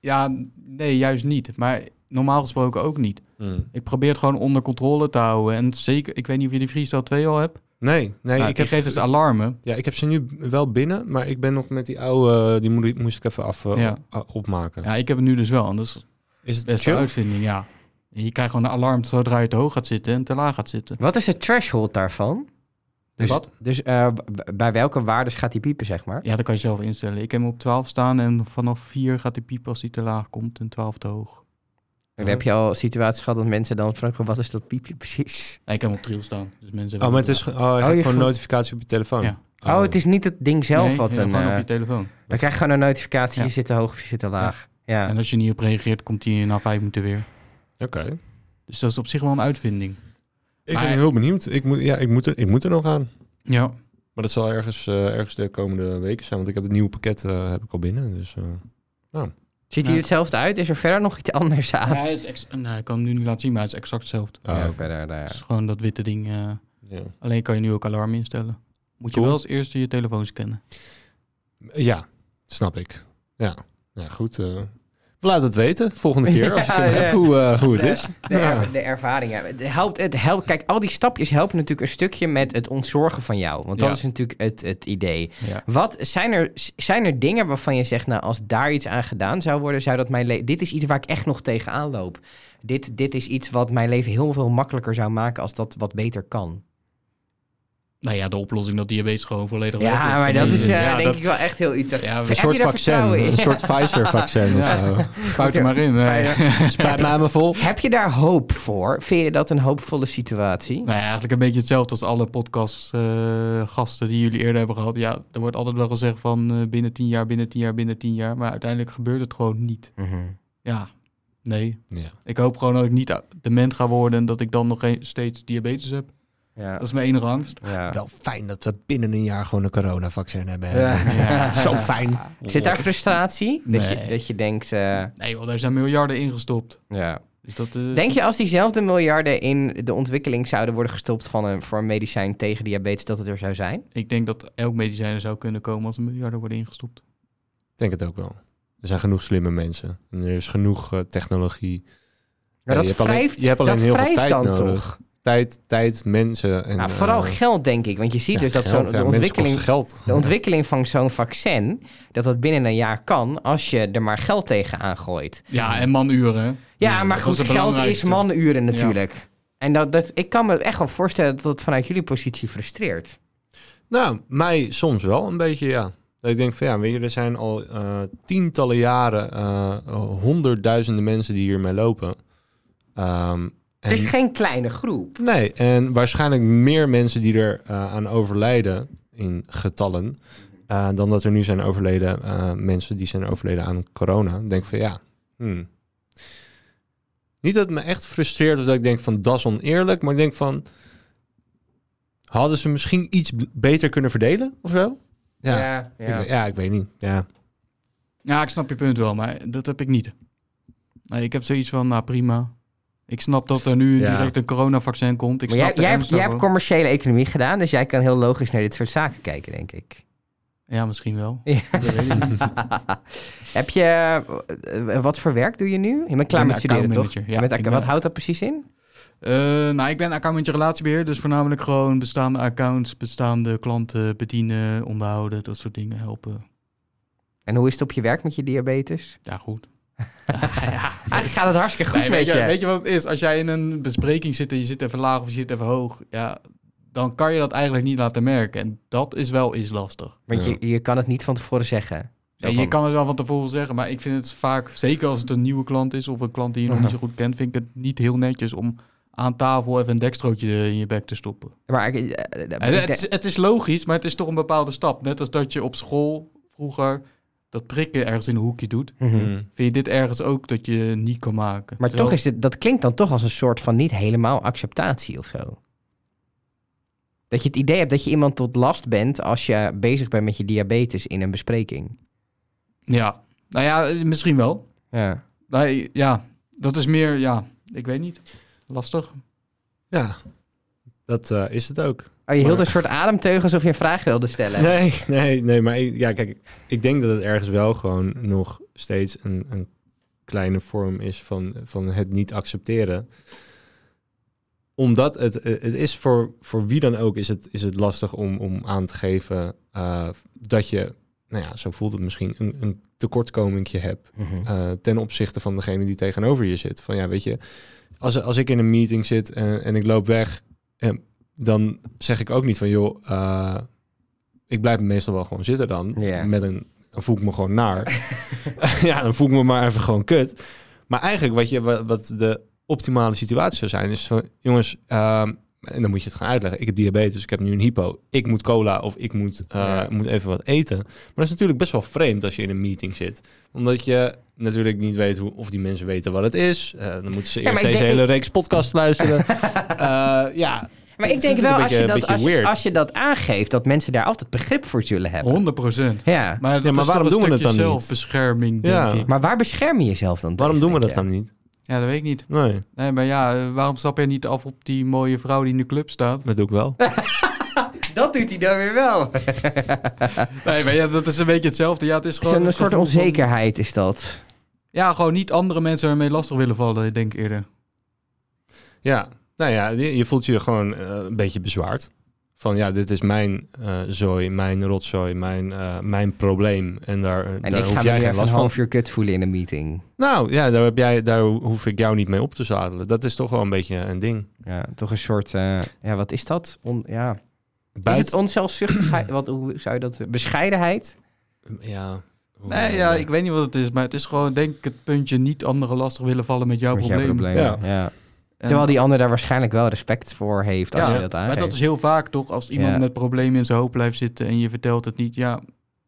B: Ja, nee, juist niet. Maar normaal gesproken ook niet.
C: Mm.
B: Ik probeer het gewoon onder controle te houden. En zeker, ik weet niet of je die freestyle 2 al hebt.
C: Nee, nee
B: Nou,
C: ik,
B: die
C: heb,
B: geeft dus alarmen.
C: ja, ik heb ze nu wel binnen, maar ik ben nog met die oude, eh, die moe- moest ik even af, eh,
B: Ja.
C: op- eh, opmaken.
B: Ja, ik heb het nu dus wel. En dat is
C: Is
B: de
C: het
B: beste
C: chill?
B: uitvinding, ja. En Je krijgt gewoon een alarm zodra je te hoog gaat zitten en te laag gaat zitten.
A: Wat is de threshold daarvan? Dus,
C: Wat?
A: dus eh, b- bij welke waardes gaat die piepen, zeg maar?
B: Ja, dat kan je zelf instellen. Ik heb hem op 12 staan en vanaf 4 gaat die piep als die te laag komt en 12 te hoog.
A: Dan heb je al situaties gehad dat mensen dan vragen, wat is dat piepje *laughs* precies?
B: Nee, ik heb hem op trill staan. Dus mensen
C: Oh, maar het is ge- oh, hij gaat
A: je
C: gewoon
A: voelt-
C: notificatie op je telefoon.
B: Ja.
A: Oh, het is niet het ding zelf
B: Nee,
A: wat
B: ja,
A: een...
B: gewoon
A: eh,
B: op je telefoon.
A: dan krijg je gewoon een notificatie,
B: Ja.
A: je zit te hoog of je zit te laag. Ja.
B: En als je niet op reageert, komt die na 5 minuten weer.
C: Oké.
B: Dus dat is op zich wel een uitvinding.
C: Ik
B: Maar-
C: ben heel benieuwd. Ik moet, ja, ik, moet er, ik moet er nog aan.
B: Ja.
C: Maar dat zal ergens, eh, ergens de komende weken zijn. Want ik heb het nieuwe pakket eh, heb ik al binnen. Dus, eh,
A: Ziet hij
B: Ja.
A: hetzelfde uit? Is er verder nog iets anders aan?
B: hij is ex- nou, ik kan hem nu niet laten zien, maar het is exact hetzelfde.
C: ah, oké.
A: verder, eh,
B: Het is gewoon dat witte ding. eh,
C: ja.
B: Alleen kan je nu ook alarm instellen. Moet
C: Cool.
B: je wel als eerste je telefoon scannen.
C: ja, snap ik. Ja, ja goed. eh, laat het weten volgende keer als je het
A: *laughs* Ja,
C: hem
A: ja.
C: hebt, hoe, eh, hoe het is.
A: De, er-
C: Ja.
A: de ervaring. ja. Het helpt, het helpt, kijk, al die stapjes helpen natuurlijk een stukje met het ontzorgen van jou. Want dat
B: Ja.
A: is natuurlijk het, het idee.
B: Ja.
A: Wat zijn er, s- zijn er dingen waarvan je zegt, nou, als daar iets aan gedaan zou worden, zou dat mijn leven. Dit is iets waar ik echt nog tegenaan loop. Dit, dit is iets wat mijn leven heel veel makkelijker zou maken als dat wat beter kan.
B: Nou ja, de oplossing dat diabetes gewoon volledig weg Dus,
A: Ja, maar dat
C: Jezus,
A: is eh,
B: ja,
A: denk
B: dat-
A: ik wel echt heel
B: Ja,
A: iets. Heb
C: Een
A: je
C: soort
A: daar
C: vaccin.
A: vertrouwen in?
C: *laughs* Een soort Pfizer-vaccin of
B: Ja.
C: zo.
B: Fout er maar in. hè. *laughs*
A: *laughs*
C: Spuit mij maar vol.
A: Heb je daar hoop voor? Vind je dat een hoopvolle situatie?
B: Nou ja, eigenlijk een beetje hetzelfde als alle podcastgasten gasten die jullie eerder hebben gehad. Ja, er wordt altijd wel gezegd van eh, binnen tien jaar, binnen tien jaar, binnen tien jaar. Maar uiteindelijk gebeurt het gewoon niet.
A: Mhm.
B: Ja, Nee.
C: Ja.
B: Ik hoop gewoon dat ik niet a- dement ga worden en dat ik dan nog geen- steeds diabetes heb.
A: Ja.
B: Dat is mijn enige angst.
A: Ja.
D: Wel fijn dat we binnen een jaar gewoon een coronavaccin hebben.
A: Ja. Ja.
D: Zo fijn.
A: Zit daar frustratie? Dat, je,
D: Nee.
A: dat je denkt... eh,
B: Nee joh, daar zijn miljarden ingestopt.
A: ja.
B: Dus dat, eh,
A: Denk je als diezelfde miljarden in de ontwikkeling zouden worden gestopt van een, voor een medicijn tegen diabetes, dat het er zou zijn?
B: Ik denk dat elk medicijn er zou kunnen komen als er miljarden worden ingestopt.
C: denk het ook wel. Er zijn genoeg slimme mensen. En er is genoeg eh, technologie. Ja,
A: Maar dat
C: je hebt alleen-
A: wrijft,
C: je hebt alleen
A: dat
C: heel veel
A: wrijft
C: tijd
A: dan
C: nodig.
A: toch?
C: Tijd, tijd, mensen. En,
A: Nou, vooral
C: eh,
A: geld, denk ik. Want je ziet
C: ja,
A: dus dat
C: geld,
A: zo'n
C: ja,
A: de
C: mensen
A: ontwikkeling
C: kosten geld.
A: De ontwikkeling van zo'n vaccin, dat dat binnen een jaar kan als je er maar geld tegenaan gooit.
B: Ja, en manuren. hè?
A: Ja, maar
B: dat
A: goed,
B: het
A: geld is
B: belangrijkste.
A: manuren natuurlijk. En dat, dat, ik kan me echt wel voorstellen dat dat vanuit jullie positie frustreert.
C: Nou, mij soms wel een beetje, ja. Dat ik denk van ja, weet je, er zijn al eh, tientallen jaren eh, honderdduizenden mensen die hiermee lopen. Ehm, en-
A: Het is geen kleine groep.
C: Nee, en waarschijnlijk meer mensen die er eh, aan overlijden in getallen. eh, dan dat er nu zijn overleden eh, mensen die zijn overleden aan corona. Ik Denk van ja. hmm. Niet dat het me echt frustreert of dat ik denk van dat is oneerlijk. Maar ik denk van. Hadden ze misschien iets b- beter kunnen verdelen of zo? Ja, ik
A: ja,
C: we-
A: ja.
C: ja. Ik, weet niet. Ja.
B: Ja, ik snap je punt wel, maar dat heb ik niet. Nee, ik heb zoiets van, nou prima. Ik snap dat er nu
C: Ja.
B: direct een coronavaccin komt. Ik
A: Maar jij,
B: snap de
A: jij, hebt,
B: ernst
A: jij hebt
B: daarvan.
A: commerciële economie gedaan, dus jij kan heel logisch naar dit soort zaken kijken, denk ik. *laughs*
B: Ja, misschien wel.
A: Ja.
B: Dat weet ik niet.
A: Heb je, eh, wat voor werk doe je nu? Je bent klaar
B: ben
A: met studeren, toch?
B: accountmanager, ja.
A: Met ac-
B: Ik ben-
A: wat houdt dat precies in?
B: Eh, nou, ik ben accountmanager relatiebeheer, dus voornamelijk gewoon bestaande accounts, bestaande klanten bedienen, onderhouden, dat soort dingen helpen.
A: En hoe is het op je werk met je
B: *laughs*
A: diabetes?
B: Ja, goed.
A: Eigenlijk gaat het hartstikke goed
B: Nee,
A: met
B: weet, je,
A: je.
B: weet je wat het is? Als jij in een bespreking zit en je zit even laag of je zit even hoog, ja, dan kan je dat eigenlijk niet laten merken. En dat is wel eens lastig.
A: Want
C: Ja.
A: je, je kan het niet van tevoren zeggen.
B: En je kan het wel van tevoren zeggen, maar ik vind het vaak, zeker als het een nieuwe klant is of een klant die je nog niet zo goed kent, vind ik het niet heel netjes om aan tafel even een dekstrootje in je bek te stoppen.
A: Maar ik- eh, eh,
B: En
A: ik
B: het,
A: denk-
B: is, het is logisch, maar het is toch een bepaalde stap. Net als dat je op school vroeger dat prikken ergens in een hoekje doet.
A: Mhm.
C: Hmm.
B: Vind je dit ergens ook dat je niet kan maken?
A: Maar
B: Terwijl-
A: toch is het, dat klinkt dan toch als een soort van niet helemaal acceptatie of zo. Dat je het idee hebt dat je iemand tot last bent als je bezig bent met je diabetes in een bespreking.
B: Ja, nou ja, eh, misschien wel.
A: Ja.
B: Nee, ja, dat is meer, ja, ik weet niet. Lastig.
C: Ja, dat eh, is het ook.
A: Oh, je hield
C: Maar-
A: een soort ademteug alsof je een vraag wilde stellen.
C: Nee, nee, nee. Maar ik- ja, kijk, ik denk dat het ergens wel gewoon nog steeds een, een kleine vorm is van, van het niet accepteren. Omdat het, eh, het is voor, voor wie dan ook, is het, is het lastig om, om aan te geven eh, dat je, nou ja, zo voelt het misschien, een, een tekortkomingje hebt eh, ten opzichte van degene die tegenover je zit. Van ja, weet je, als, als ik in een meeting zit en, en ik loop weg, eh, dan zeg ik ook niet van joh, eh, ik blijf meestal wel gewoon zitten dan.
A: Ja.
C: Met een, dan voel ik me gewoon naar. *laughs* ja, dan voel ik me maar even gewoon kut. Maar eigenlijk wat, je, wa- wat de optimale situatie zou zijn, is van jongens, ehm, en dan moet je het gaan uitleggen. Ik heb diabetes, ik heb nu een hypo. Ik moet cola of ik moet, eh,
A: Ja.
C: moet even wat eten. Maar dat is natuurlijk best wel vreemd als je in een meeting zit. Omdat je natuurlijk niet weet hoe, of die mensen weten wat het is. Eh, dan moeten ze
A: Ja, maar
C: eerst
A: ik
C: deze
A: denk-
C: hele reeks podcast
A: *laughs*
C: luisteren. Eh, ja,
A: Maar
C: Het
A: ik
C: is
A: denk
C: natuurlijk
A: wel,
C: een
A: als
C: beetje-
A: je, dat,
C: beetje
A: als, je,
C: weird.
A: als je dat aangeeft, dat mensen daar altijd begrip voor zullen hebben.
B: 100 procent.
A: Ja.
B: Maar, dat
C: maar
B: is toch
C: waarom
B: een
C: doen we het
B: stukje
C: dan niet?
B: zelfbescherming,
C: Ja.
B: denk ik.
A: Maar waar bescherm je jezelf dan
C: waarom doen
A: tegen,
C: we dat
A: denk
C: dan niet?
B: Ja, dat weet ik niet.
C: Nee,
B: Nee, maar ja, eh, waarom stap je niet af op die mooie vrouw die in de club staat?
C: dat doe ik wel.
A: je? *laughs* Dat doet hij dan weer wel.
B: *laughs* Nee, maar ja, dat is een beetje hetzelfde. Ja, het is gewoon
A: Zo'n
B: het
A: soort
B: gevoel van-
A: onzekerheid is dat.
B: Ja, gewoon niet andere mensen ermee lastig willen vallen, denk ik eerder.
C: Oh, Ja, nou ja, je, je voelt je gewoon eh, een beetje bezwaard. Van ja, dit is mijn eh, zooi, mijn rotzooi, mijn, eh, mijn probleem. En daar, eh,
A: En
C: daar
A: ik ga
C: hoef
A: me
C: jij geen
A: nu even een
C: last van
A: half uur kut voelen in een meeting.
C: Nou ja, daar, heb jij, daar hoef ik jou niet mee op te zadelen. Dat is toch wel een beetje een ding.
A: Ja, toch een soort, eh, ja, wat is dat? On, ja. Is het
C: Buiten.
A: onzelfzuchtigheid? Wat, hoe zou je dat? Bescheidenheid?
C: Ja. hoe-
B: Nee, ja, ik weet niet wat het is, maar het is gewoon, denk ik, het puntje niet anderen lastig willen vallen met jouw
A: Met jouw
B: probleem.
A: problemen, Ja.
B: En-
A: Terwijl die ander daar waarschijnlijk wel respect voor heeft als
B: Ja,
A: je dat
B: maar
A: aangeeft.
B: dat is heel vaak toch, als iemand
A: Ja.
B: met problemen in zijn hoofd blijft zitten en je vertelt het niet, ja,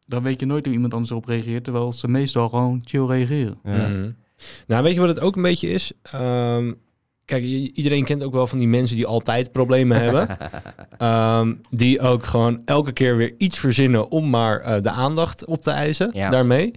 B: dan weet je nooit hoe iemand anders erop reageert, terwijl ze meestal gewoon chill reageren.
A: Ja.
C: Mhm. Nou, weet je wat het ook een beetje is? Ehm, kijk, i- iedereen kent ook wel van die mensen die
B: *laughs*
C: altijd problemen hebben. Ehm, die ook gewoon elke keer weer iets verzinnen om maar eh, de aandacht op te eisen
A: Ja.
C: daarmee.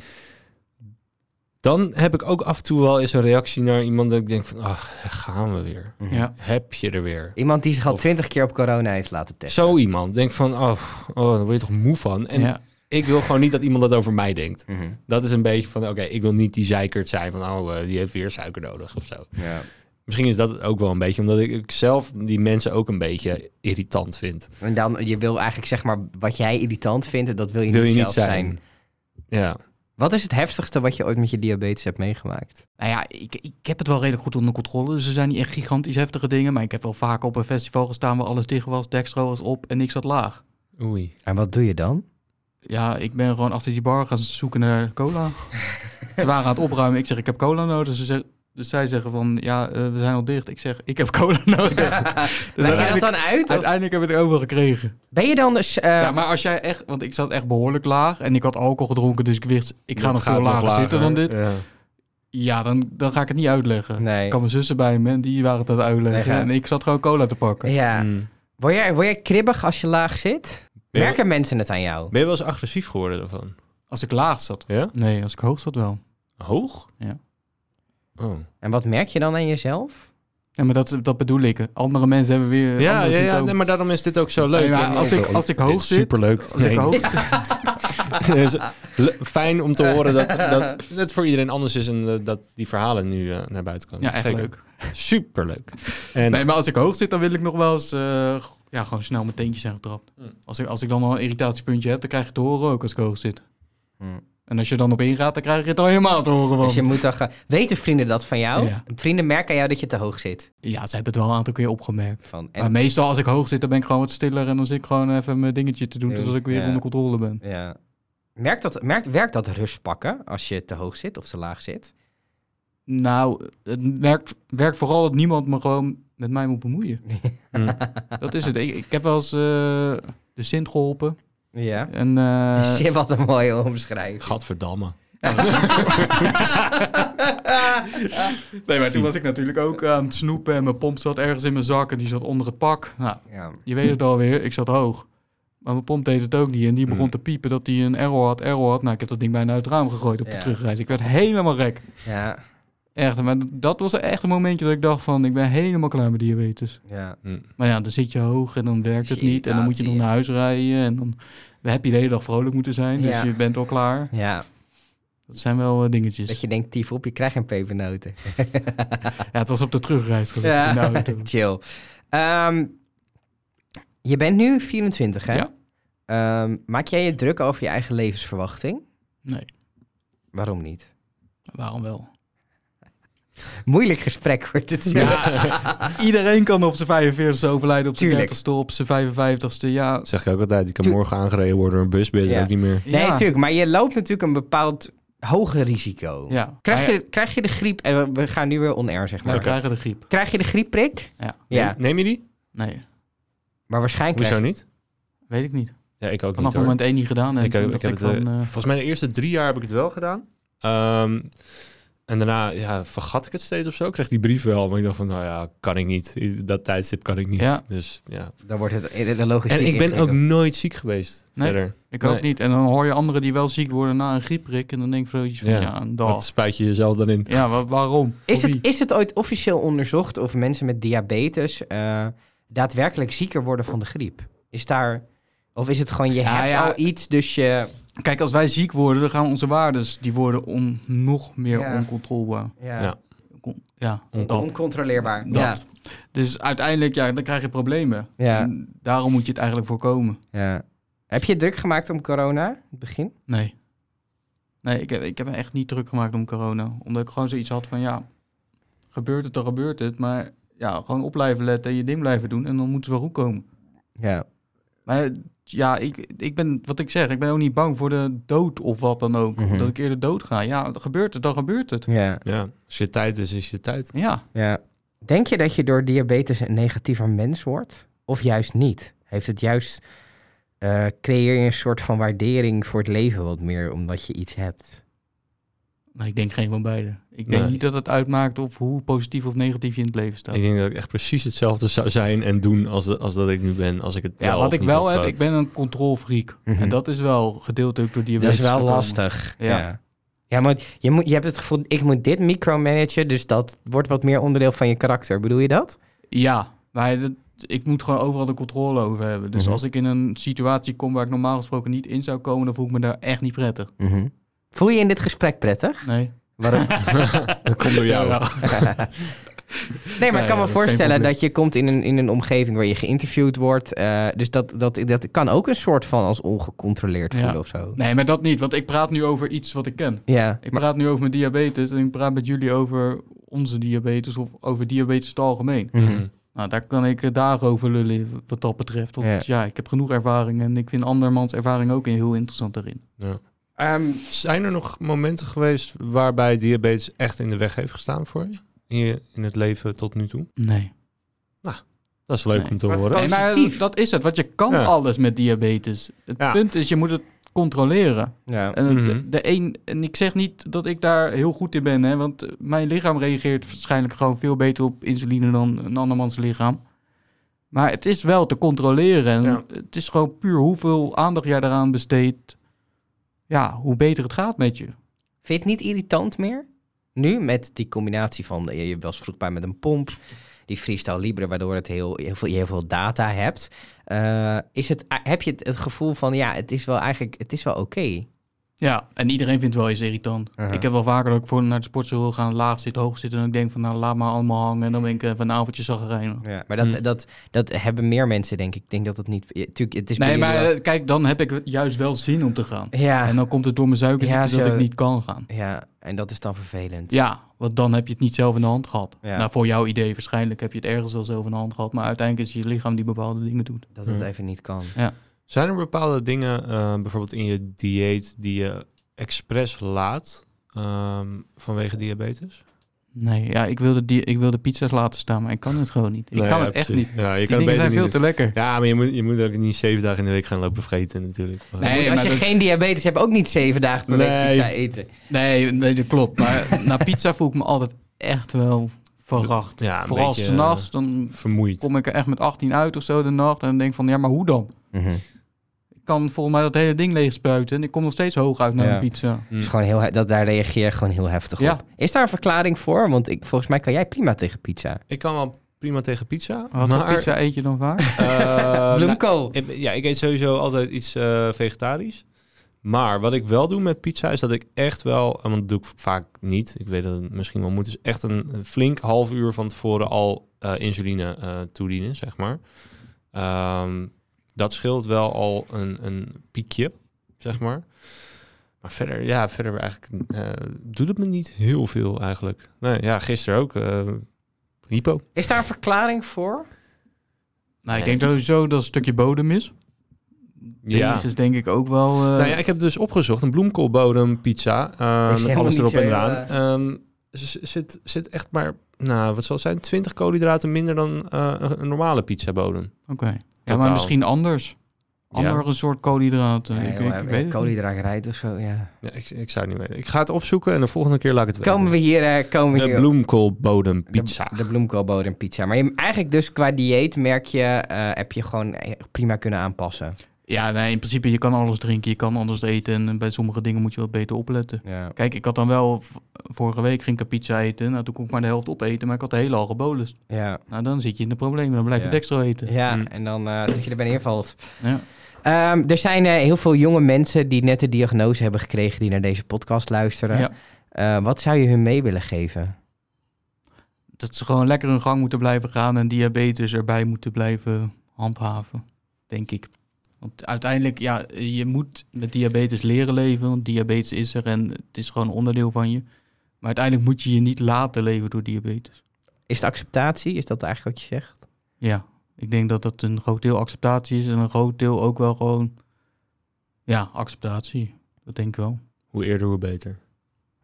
C: Dan heb ik ook af en toe wel eens een reactie naar iemand dat ik denk van, ach, daar gaan we weer.
B: Ja.
C: Heb je er weer.
A: Iemand die zich al
C: Of-
A: twintig keer op corona heeft laten testen.
C: Zo iemand. Denk van, oh, oh, daar word je toch moe van. En
B: ja.
C: ik wil gewoon niet dat iemand dat over mij denkt.
A: Mhm.
C: Dat is een beetje van, oké, ik wil niet die zeikert zijn van, oh, eh, die heeft weer suiker nodig of zo.
A: Ja.
C: Misschien is dat het ook wel een beetje, omdat ik, ik zelf die mensen ook een beetje irritant vind.
A: En dan, je wil eigenlijk zeg maar wat jij irritant vindt, dat wil je,
C: wil
A: niet,
C: je niet
A: zelf
C: zijn.
A: zijn.
C: Ja.
A: Wat is het heftigste wat je ooit met je diabetes hebt meegemaakt?
B: Nou ja, ik, ik heb het wel redelijk goed onder controle. Dus er zijn niet echt gigantisch heftige dingen. Maar ik heb wel vaak op een festival gestaan waar alles dicht was, dextro was op en ik zat laag.
C: Oei.
A: En wat doe je dan?
B: Ja, ik ben gewoon achter die bar gaan zoeken naar *laughs* cola. ze waren aan het opruimen. Ik zeg, ik heb cola nodig. Ze zeg- dus zij zeggen van, ja, eh, we zijn al dicht. Ik zeg, ik heb cola *laughs* nodig. Dus
A: Leg je dat
B: uiteindelijk,
A: dan uit? of-
B: uiteindelijk hebben we het over gekregen.
A: Ben je dan dus... eh,
B: ja, maar als jij echt, want ik zat echt behoorlijk laag en ik had alcohol gedronken, dus ik wist, ik ga
C: Dat
B: nog
C: gaat
B: veel lager, zitten dan dit.
C: Ja.
B: Ja, dan, dan ga ik het niet uitleggen.
A: Nee.
B: Ik had mijn zussen bij me en die waren het aan het uitleggen.
A: Nee, ga-
B: en ik zat gewoon cola te pakken.
A: Ja.
B: Hmm.
C: Mm.
A: Word jij, word jij kribbig als je laag zit?
C: Ja.
A: Merken mensen het aan jou?
C: Ben je wel eens agressief geworden daarvan?
B: Als ik laag zat.
C: Ja?
B: Nee, als ik hoog zat wel.
C: Hoog?
B: Ja.
C: Oh.
A: En wat merk je dan aan jezelf?
B: Ja, maar dat, dat bedoel ik. Andere mensen hebben weer
C: Ja, ja,
B: andere
C: ja
B: symptomen.
C: nee, maar daarom is dit ook zo leuk.
B: Nee, maar
C: En-
B: als ik- als ik hoog
C: Dit is
B: zit-
C: Superleuk.
B: Als ik
C: Nee. *laughs*
B: hoog zat,
C: Dus, le- Fijn om te horen dat, dat het voor iedereen anders is en eh, dat die verhalen nu eh, naar buiten komen.
B: ja, echt
C: Zeker.
B: leuk.
C: Superleuk. En
B: Nee, maar als ik hoog zit, dan wil ik nog wel eens eh, g- ja, gewoon snel mijn teentjes zijn getrapt.
C: Hm.
A: Hmm.
B: Als, ik, als ik dan al een irritatiepuntje heb, dan krijg je het te horen ook als ik hoog zit.
A: Hm.
B: En als je dan op ingaat, dan krijg je het al helemaal te horen. Van.
A: Dus je moet dan gaan- Weten vrienden dat van jou?
B: Ja.
A: Vrienden merken aan jou dat je te hoog zit.
B: Ja, ze hebben het wel een aantal keer opgemerkt.
A: Van, en,
B: Maar meestal als ik hoog zit, dan ben ik gewoon wat stiller. En dan zit ik gewoon even mijn dingetje te doen,
A: Ja.
B: totdat ik weer
A: Ja.
B: onder controle ben.
A: ja. merkt dat, merkt, werkt dat rust pakken als je te hoog zit of te laag zit?
B: Nou, het werkt, werkt vooral dat niemand me gewoon met mij moet
A: *laughs*
B: bemoeien.
C: Mm.
B: dat is het. Ik, ik heb wel eens eh, de Sint geholpen.
A: Ja.
B: En, eh,
A: *laughs* Uh,
B: *laughs*
A: wat een mooie omschrijving.
C: Gadverdamme.
A: *laughs*
B: Ah. nee, maar toen was ik natuurlijk ook aan het snoepen en mijn pomp zat ergens in mijn zak en die zat onder het pak. Nou,
A: Ja.
B: je weet het alweer, ik zat hoog. Maar mijn pomp deed het ook niet en die begon
C: Mm.
B: te piepen dat hij een error had, error had. Nou, ik heb dat ding bijna uit het raam gegooid op
A: Ja.
B: de terugreis. Ik werd helemaal gek.
A: Ja.
B: Echt, maar dat was echt een momentje dat ik dacht van, ik ben helemaal klaar met diabetes.
A: ja.
C: Hm.
B: Maar ja, dan zit je hoog en dan werkt
A: Is
B: het
A: je
B: niet. En dan moet je nog
A: irritatie,
B: naar huis rijden. En dan heb je de hele dag vrolijk moeten zijn. Dus
A: Ja.
B: je bent al klaar.
A: Ja,
B: Dat zijn wel eh, dingetjes.
A: dat je denkt, tief op, je krijgt geen pepernoten.
B: Ja, het was op de terugreis. gelukkig,
A: Ja.
B: in de auto.
A: *laughs* Chill. Ehm, je bent nu 24, hè?
B: Ja.
A: Ehm, maak jij je druk over je eigen levensverwachting?
B: Nee,
A: Waarom niet?
B: waarom wel?
A: Moeilijk gesprek wordt het zo.
C: *laughs*
B: Iedereen kan op zijn 45ste overlijden, op zijn
A: Tuurlijk.
B: 30ste, op zijn 55ste. Ja,
C: zeg ik ook altijd. Ik kan
A: Tu-
C: morgen aangereden worden door een bus. Ben je er
A: Ja.
C: ook niet meer.
A: Nee,
B: ja.
A: natuurlijk. Maar je loopt natuurlijk een bepaald hoger risico.
B: Ja.
A: Krijg,
B: Maar ja,
A: je, krijg je de griep... En we- we gaan nu weer on-air, zeg
B: we
A: maar.
B: krijgen de griep.
A: Krijg je de griepprik?
B: Ja.
A: ja.
C: Neem je die?
B: Nee,
A: Maar waarschijnlijk...
C: Hoezo
A: krijg-
C: niet?
B: weet ik niet.
C: Ja, ik ook
B: Vanaf
C: niet hoor.
B: moment 1 niet gedaan. En
C: Ik,
B: toen
C: heb- ik
B: dacht
C: heb
B: ik
C: het, eh,
B: van, eh,
C: Volgens mij de eerste drie jaar heb ik het wel gedaan. Ehm, en daarna ja, vergat ik het steeds of zo. Ik kreeg die brief wel, maar ik dacht van, nou ja, kan ik niet. I- Dat tijdstip kan ik niet.
B: Ja.
C: Dus ja.
A: Dan wordt het de- de logistiek
C: En ik ben ook
A: ingewikkeld.
C: nooit ziek geweest
B: Nee.
C: verder.
B: ik ook
C: Nee.
B: niet. En dan hoor je anderen die wel ziek worden na een griepprik. En dan denk ik zoiets van,
C: Ja.
B: ja, een
C: Dat
B: dag.
C: spuit je jezelf dan in.
B: Ja, wa- waarom?
A: Is
B: Voor
A: het,
B: wie?
A: is het ooit officieel onderzocht of mensen met diabetes eh, daadwerkelijk zieker worden van de griep? Is daar... Of is het gewoon, je
B: Ja,
A: hebt
B: ja.
A: al iets, dus je...
B: Kijk, als wij ziek worden, dan gaan onze waardes die worden on, nog meer
A: Ja.
B: oncontrolebaar.
A: Ja,
C: Ja.
B: Con- ja,
C: On-
B: dat.
A: oncontroleerbaar.
B: dat. Dus uiteindelijk, ja, dan krijg je problemen.
A: Ja. Ja.
B: En daarom moet je het eigenlijk voorkomen.
A: ja. Heb je het druk gemaakt om corona, in het begin?
B: Nee. Nee, ik heb, ik heb me echt niet druk gemaakt om corona. Omdat ik gewoon zoiets had van, ja, gebeurt het, dan gebeurt het. Maar ja, gewoon op blijven letten en je ding blijven doen. En dan moet het wel goed komen.
A: Ja.
B: Maar ja, ik, ik ben, wat ik zeg, ik ben ook niet bang voor de dood of wat dan ook.
A: Mhm.
B: Dat ik eerder dood ga. Ja, dan gebeurt het, dan gebeurt het.
A: Ja.
C: Ja, als je tijd is, is je tijd.
B: Ja.
A: Ja. Denk je dat je door diabetes een negatiever mens wordt? Of juist niet? Heeft het juist... eh, creëer je een soort van waardering voor het leven wat meer, omdat je iets hebt?
B: Nou, ik denk geen van beide. Ik denk
C: Nee.
B: niet dat het uitmaakt of hoe positief of negatief je in het leven staat.
C: Ik denk dat ik echt precies hetzelfde zou zijn en doen als, dat- als dat ik nu ben. Als ik het
B: Ja,
C: wel
B: wat
C: of
B: ik
C: niet
B: wel
C: had
B: heb,
C: gehad.
B: ik ben een controlfreak.
A: Mhm.
B: En dat is wel gedeeltelijk door
A: Dat
B: diabetes
A: is wel
B: gekomen.
A: lastig.
B: Ja.
A: Ja. Ja, maar je, moet, je hebt het gevoel, ik moet dit micromanagen, dus dat wordt wat meer onderdeel van je karakter. Bedoel je dat?
B: Ja, maar dat- ik moet gewoon overal de controle over hebben. Dus
A: Mhm.
B: als ik in een situatie kom waar ik normaal gesproken niet in zou komen, dan voel ik me daar echt niet prettig.
A: Voel je in dit gesprek prettig?
B: Nee.
A: Waarom?
C: *laughs* Dat komt door jou.
B: Jawel.
A: Nee, maar
B: Nee,
A: ik kan
B: ja, dat is
A: me
B: geen
A: voorstellen
B: probleem.
A: dat je komt in een, in een omgeving waar je geïnterviewd wordt. eh, dus dat, dat, dat kan ook een soort van als ongecontroleerd
B: Ja.
A: voelen of zo.
B: nee, maar dat niet, want ik praat nu over iets wat ik ken.
A: Ja,
B: Ik
A: maar,
B: praat nu over mijn diabetes en ik praat met jullie over onze diabetes of over diabetes in het algemeen.
A: Mhm.
B: Nou, daar kan ik eh, dagen over lullen wat dat betreft. Want
A: Ja.
B: ja. ik heb genoeg ervaring en ik vind andermans ervaring ook heel interessant daarin.
A: Ehm,
C: Zijn er nog momenten geweest waarbij diabetes echt in de weg heeft gestaan voor je? In, je, in het leven tot nu toe?
B: Nee.
C: Dat is leuk
B: Nee.
C: om te
A: Maar-
C: horen.
A: maar- Positief.
B: maar dat is het, want je kan
C: Ja.
B: alles met diabetes. Het
C: Ja.
B: punt is, je moet het controleren.
A: ja.
B: En,
C: Mhm.
B: Eh, de, de een, en ik zeg niet dat ik daar heel goed in ben, hè, want eh, mijn lichaam reageert waarschijnlijk gewoon veel beter op insuline dan een andermans lichaam. Maar het is wel te controleren. En
C: Ja.
B: Het is gewoon puur hoeveel aandacht jij eraan besteedt. Ja, hoe beter het gaat met je.
A: Vind je het niet irritant meer? Nu met die combinatie van eh, je was vroeg bij met een pomp, die freestyle libre, waardoor het heel, heel veel, je heel veel data hebt. Eh, is het, eh, heb je het, het gevoel van ja, het is wel eigenlijk, het is wel oké.
B: Ja, en iedereen vindt wel eens irritant.
A: Aha.
B: Ik heb wel vaker dat ik voor naar de sportschool wil gaan, laag zitten, hoog zitten. En ik denk van, nou, laat maar allemaal hangen. En dan ben ik eh, van een avondje zagrijnig.
A: Ja, maar dat,
C: Hm.
A: dat, dat hebben meer mensen, denk ik. Ik denk dat het niet. je- Tuurlijk, het is bij
B: Nee,
A: jullie
B: maar
A: wel-
B: eh, kijk, dan heb ik juist wel zin om te gaan.
A: ja,
B: En dan komt het door mijn suikerziekte
A: Ja, zo.
B: dat ik niet kan gaan.
A: ja, en dat is dan vervelend.
B: Ja, want dan heb je het niet zelf in de hand gehad.
A: Ja.
B: Nou, voor jouw idee waarschijnlijk heb je het ergens wel zelf in de hand gehad. Maar uiteindelijk is het je lichaam die bepaalde dingen doet.
A: Dat het
C: Hm.
A: even niet kan.
C: Zijn er bepaalde dingen, eh, bijvoorbeeld in je dieet, die je expres laat ehm, vanwege diabetes?
B: Nee, ja, ik wilde, die, ik wilde pizza's laten staan, maar ik kan het gewoon niet. Ik
C: Nee,
B: kan
C: ja,
B: het echt
C: precies.
B: niet.
C: Ja, je
B: Die
C: kan
B: dingen
C: het beter
B: zijn
C: niet
B: veel
C: doen.
B: te lekker.
C: Ja, maar je moet, je moet ook niet zeven dagen in de week gaan lopen vreten natuurlijk. Maar-
B: Nee,
A: Want als
B: maar
A: je
B: dat-
A: geen diabetes hebt, ook niet zeven dagen per week
C: Nee.
A: pizza eten.
B: Nee, nee, dat klopt. Maar *laughs* na pizza voel ik me altijd echt wel verracht.
C: Ja, een
B: Vooral
C: beetje, eh,
B: s'nachts, dan
C: Vermoeid.
B: kom ik er echt met 18 uit of zo de nacht. En dan denk ik van, ja, maar hoe dan? Ik kan volgens mij dat hele ding leeg spuiten. En ik kom nog steeds hoog uit naar
A: Ja.
B: een pizza.
A: Dus gewoon heel, he- dat, daar reageer je gewoon heel heftig
B: Hm. Ja.
A: op. Is daar een verklaring voor? Want ik, volgens mij kan jij prima tegen pizza.
B: Eh,
C: Ik kan wel prima tegen pizza.
B: Wat voor
C: maar,
B: pizza eet je dan
C: *laughs*
B: vaak? *laughs*
C: eh, nou,
A: Bloemkool.
C: Ik- Ja, ik eet sowieso altijd iets eh, vegetarisch. Maar wat ik wel doe met pizza is dat ik echt wel, en want dat doe ik vaak niet, ik weet dat het misschien wel moet, is echt een, een flink half uur van tevoren al eh, insuline eh, toedienen, zeg maar. Ehm, dat scheelt wel al een, een piekje, zeg maar. Maar verder, ja, verder eigenlijk eh, doet het me niet heel veel eigenlijk. Nee, ja, gisteren ook. eh, hypo.
A: Is daar een verklaring voor?
B: nou, ik denk sowieso dat een stukje bodem is. Ja. is denk ik ook wel... eh,
C: Nou ja, ik heb het dus opgezocht. Een bloemkoolbodem pizza.
A: Is
C: ehm,
A: helemaal
C: alles
A: niet
C: erop
A: zo eh.
C: en
A: heel,
C: eraan. Ehm, z- zit, zit echt maar, nou, wat zal het zijn? 20 koolhydraten minder dan eh, een, een normale pizzabodem.
B: Oké. Ja,
C: Totaal.
B: maar misschien anders. Andere soort koolhydraten. Eh, ik, ik, ik weet het niet.
A: Koolhydraatrijt eh, of zo, ja.
C: Ja, ik, ik zou het niet weten. Ik ga het opzoeken en de volgende keer laat ik het
A: Komen we
C: weten.
A: hier... eh, komen we
C: de
A: hier
C: bloemkoolbodem pizza.
A: De, de bloemkoolbodem pizza. Maar je, eigenlijk dus qua dieet merk je, eh, heb je gewoon eh, prima kunnen aanpassen.
B: Ja, nee, in principe, je kan alles drinken, je kan anders eten. En bij sommige dingen moet je wat beter opletten.
A: Ja.
B: Kijk, ik had dan wel... v- Vorige week ging ik een pizza eten. Nou, toen kon ik maar de helft opeten, maar ik had de hele al gebolust.
A: Ja,
B: Nou, dan zit je in de problemen. Dan blijf je
A: Ja.
B: dextro eten.
A: ja
C: Mm.
A: en dan eh, dat je er bijna invalt.
B: Ja.
A: Ehm, er zijn eh, heel veel jonge mensen die net de diagnose hebben gekregen die naar deze podcast luisteren.
B: Ja.
A: Eh, wat zou je hun mee willen geven?
B: Dat ze gewoon lekker hun gang moeten blijven gaan en diabetes erbij moeten blijven handhaven, denk ik. Want uiteindelijk, ja, je moet met diabetes leren leven, want diabetes is er en het is gewoon een onderdeel van je. Maar uiteindelijk moet je je niet laten leven door diabetes.
A: Is het acceptatie? Is dat eigenlijk wat je zegt?
B: Ja, ik denk dat dat een groot deel acceptatie is en een groot deel ook wel gewoon, ja, acceptatie. Dat denk ik wel.
C: Hoe eerder, hoe beter.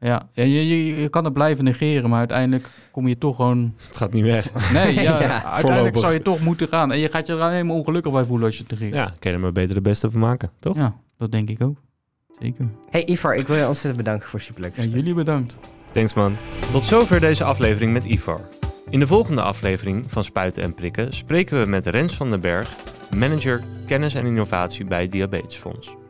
B: Ja, ja, je, je, je kan het blijven negeren, maar uiteindelijk kom je toch gewoon
C: Het gaat niet
A: *laughs*
C: weg. *laughs*
B: Nee, ja,
A: Ja,
B: uiteindelijk
C: voorlopig.
B: zou je toch moeten gaan. En je gaat je er alleen maar ongelukkig bij voelen als je het negeert.
C: Ja, kan je er maar beter de beste van maken, toch?
B: Ja, dat denk ik ook. Zeker.
A: Hey Ivar, ik wil je ontzettend bedanken voor het superleuk
B: Ja,
A: gesprek.
B: jullie bedankt.
C: Thanks man. Tot zover deze aflevering met Ivar. In de volgende aflevering van Spuiten en Prikken spreken we met Rens van den Berg, manager kennis en innovatie bij Diabetesfonds.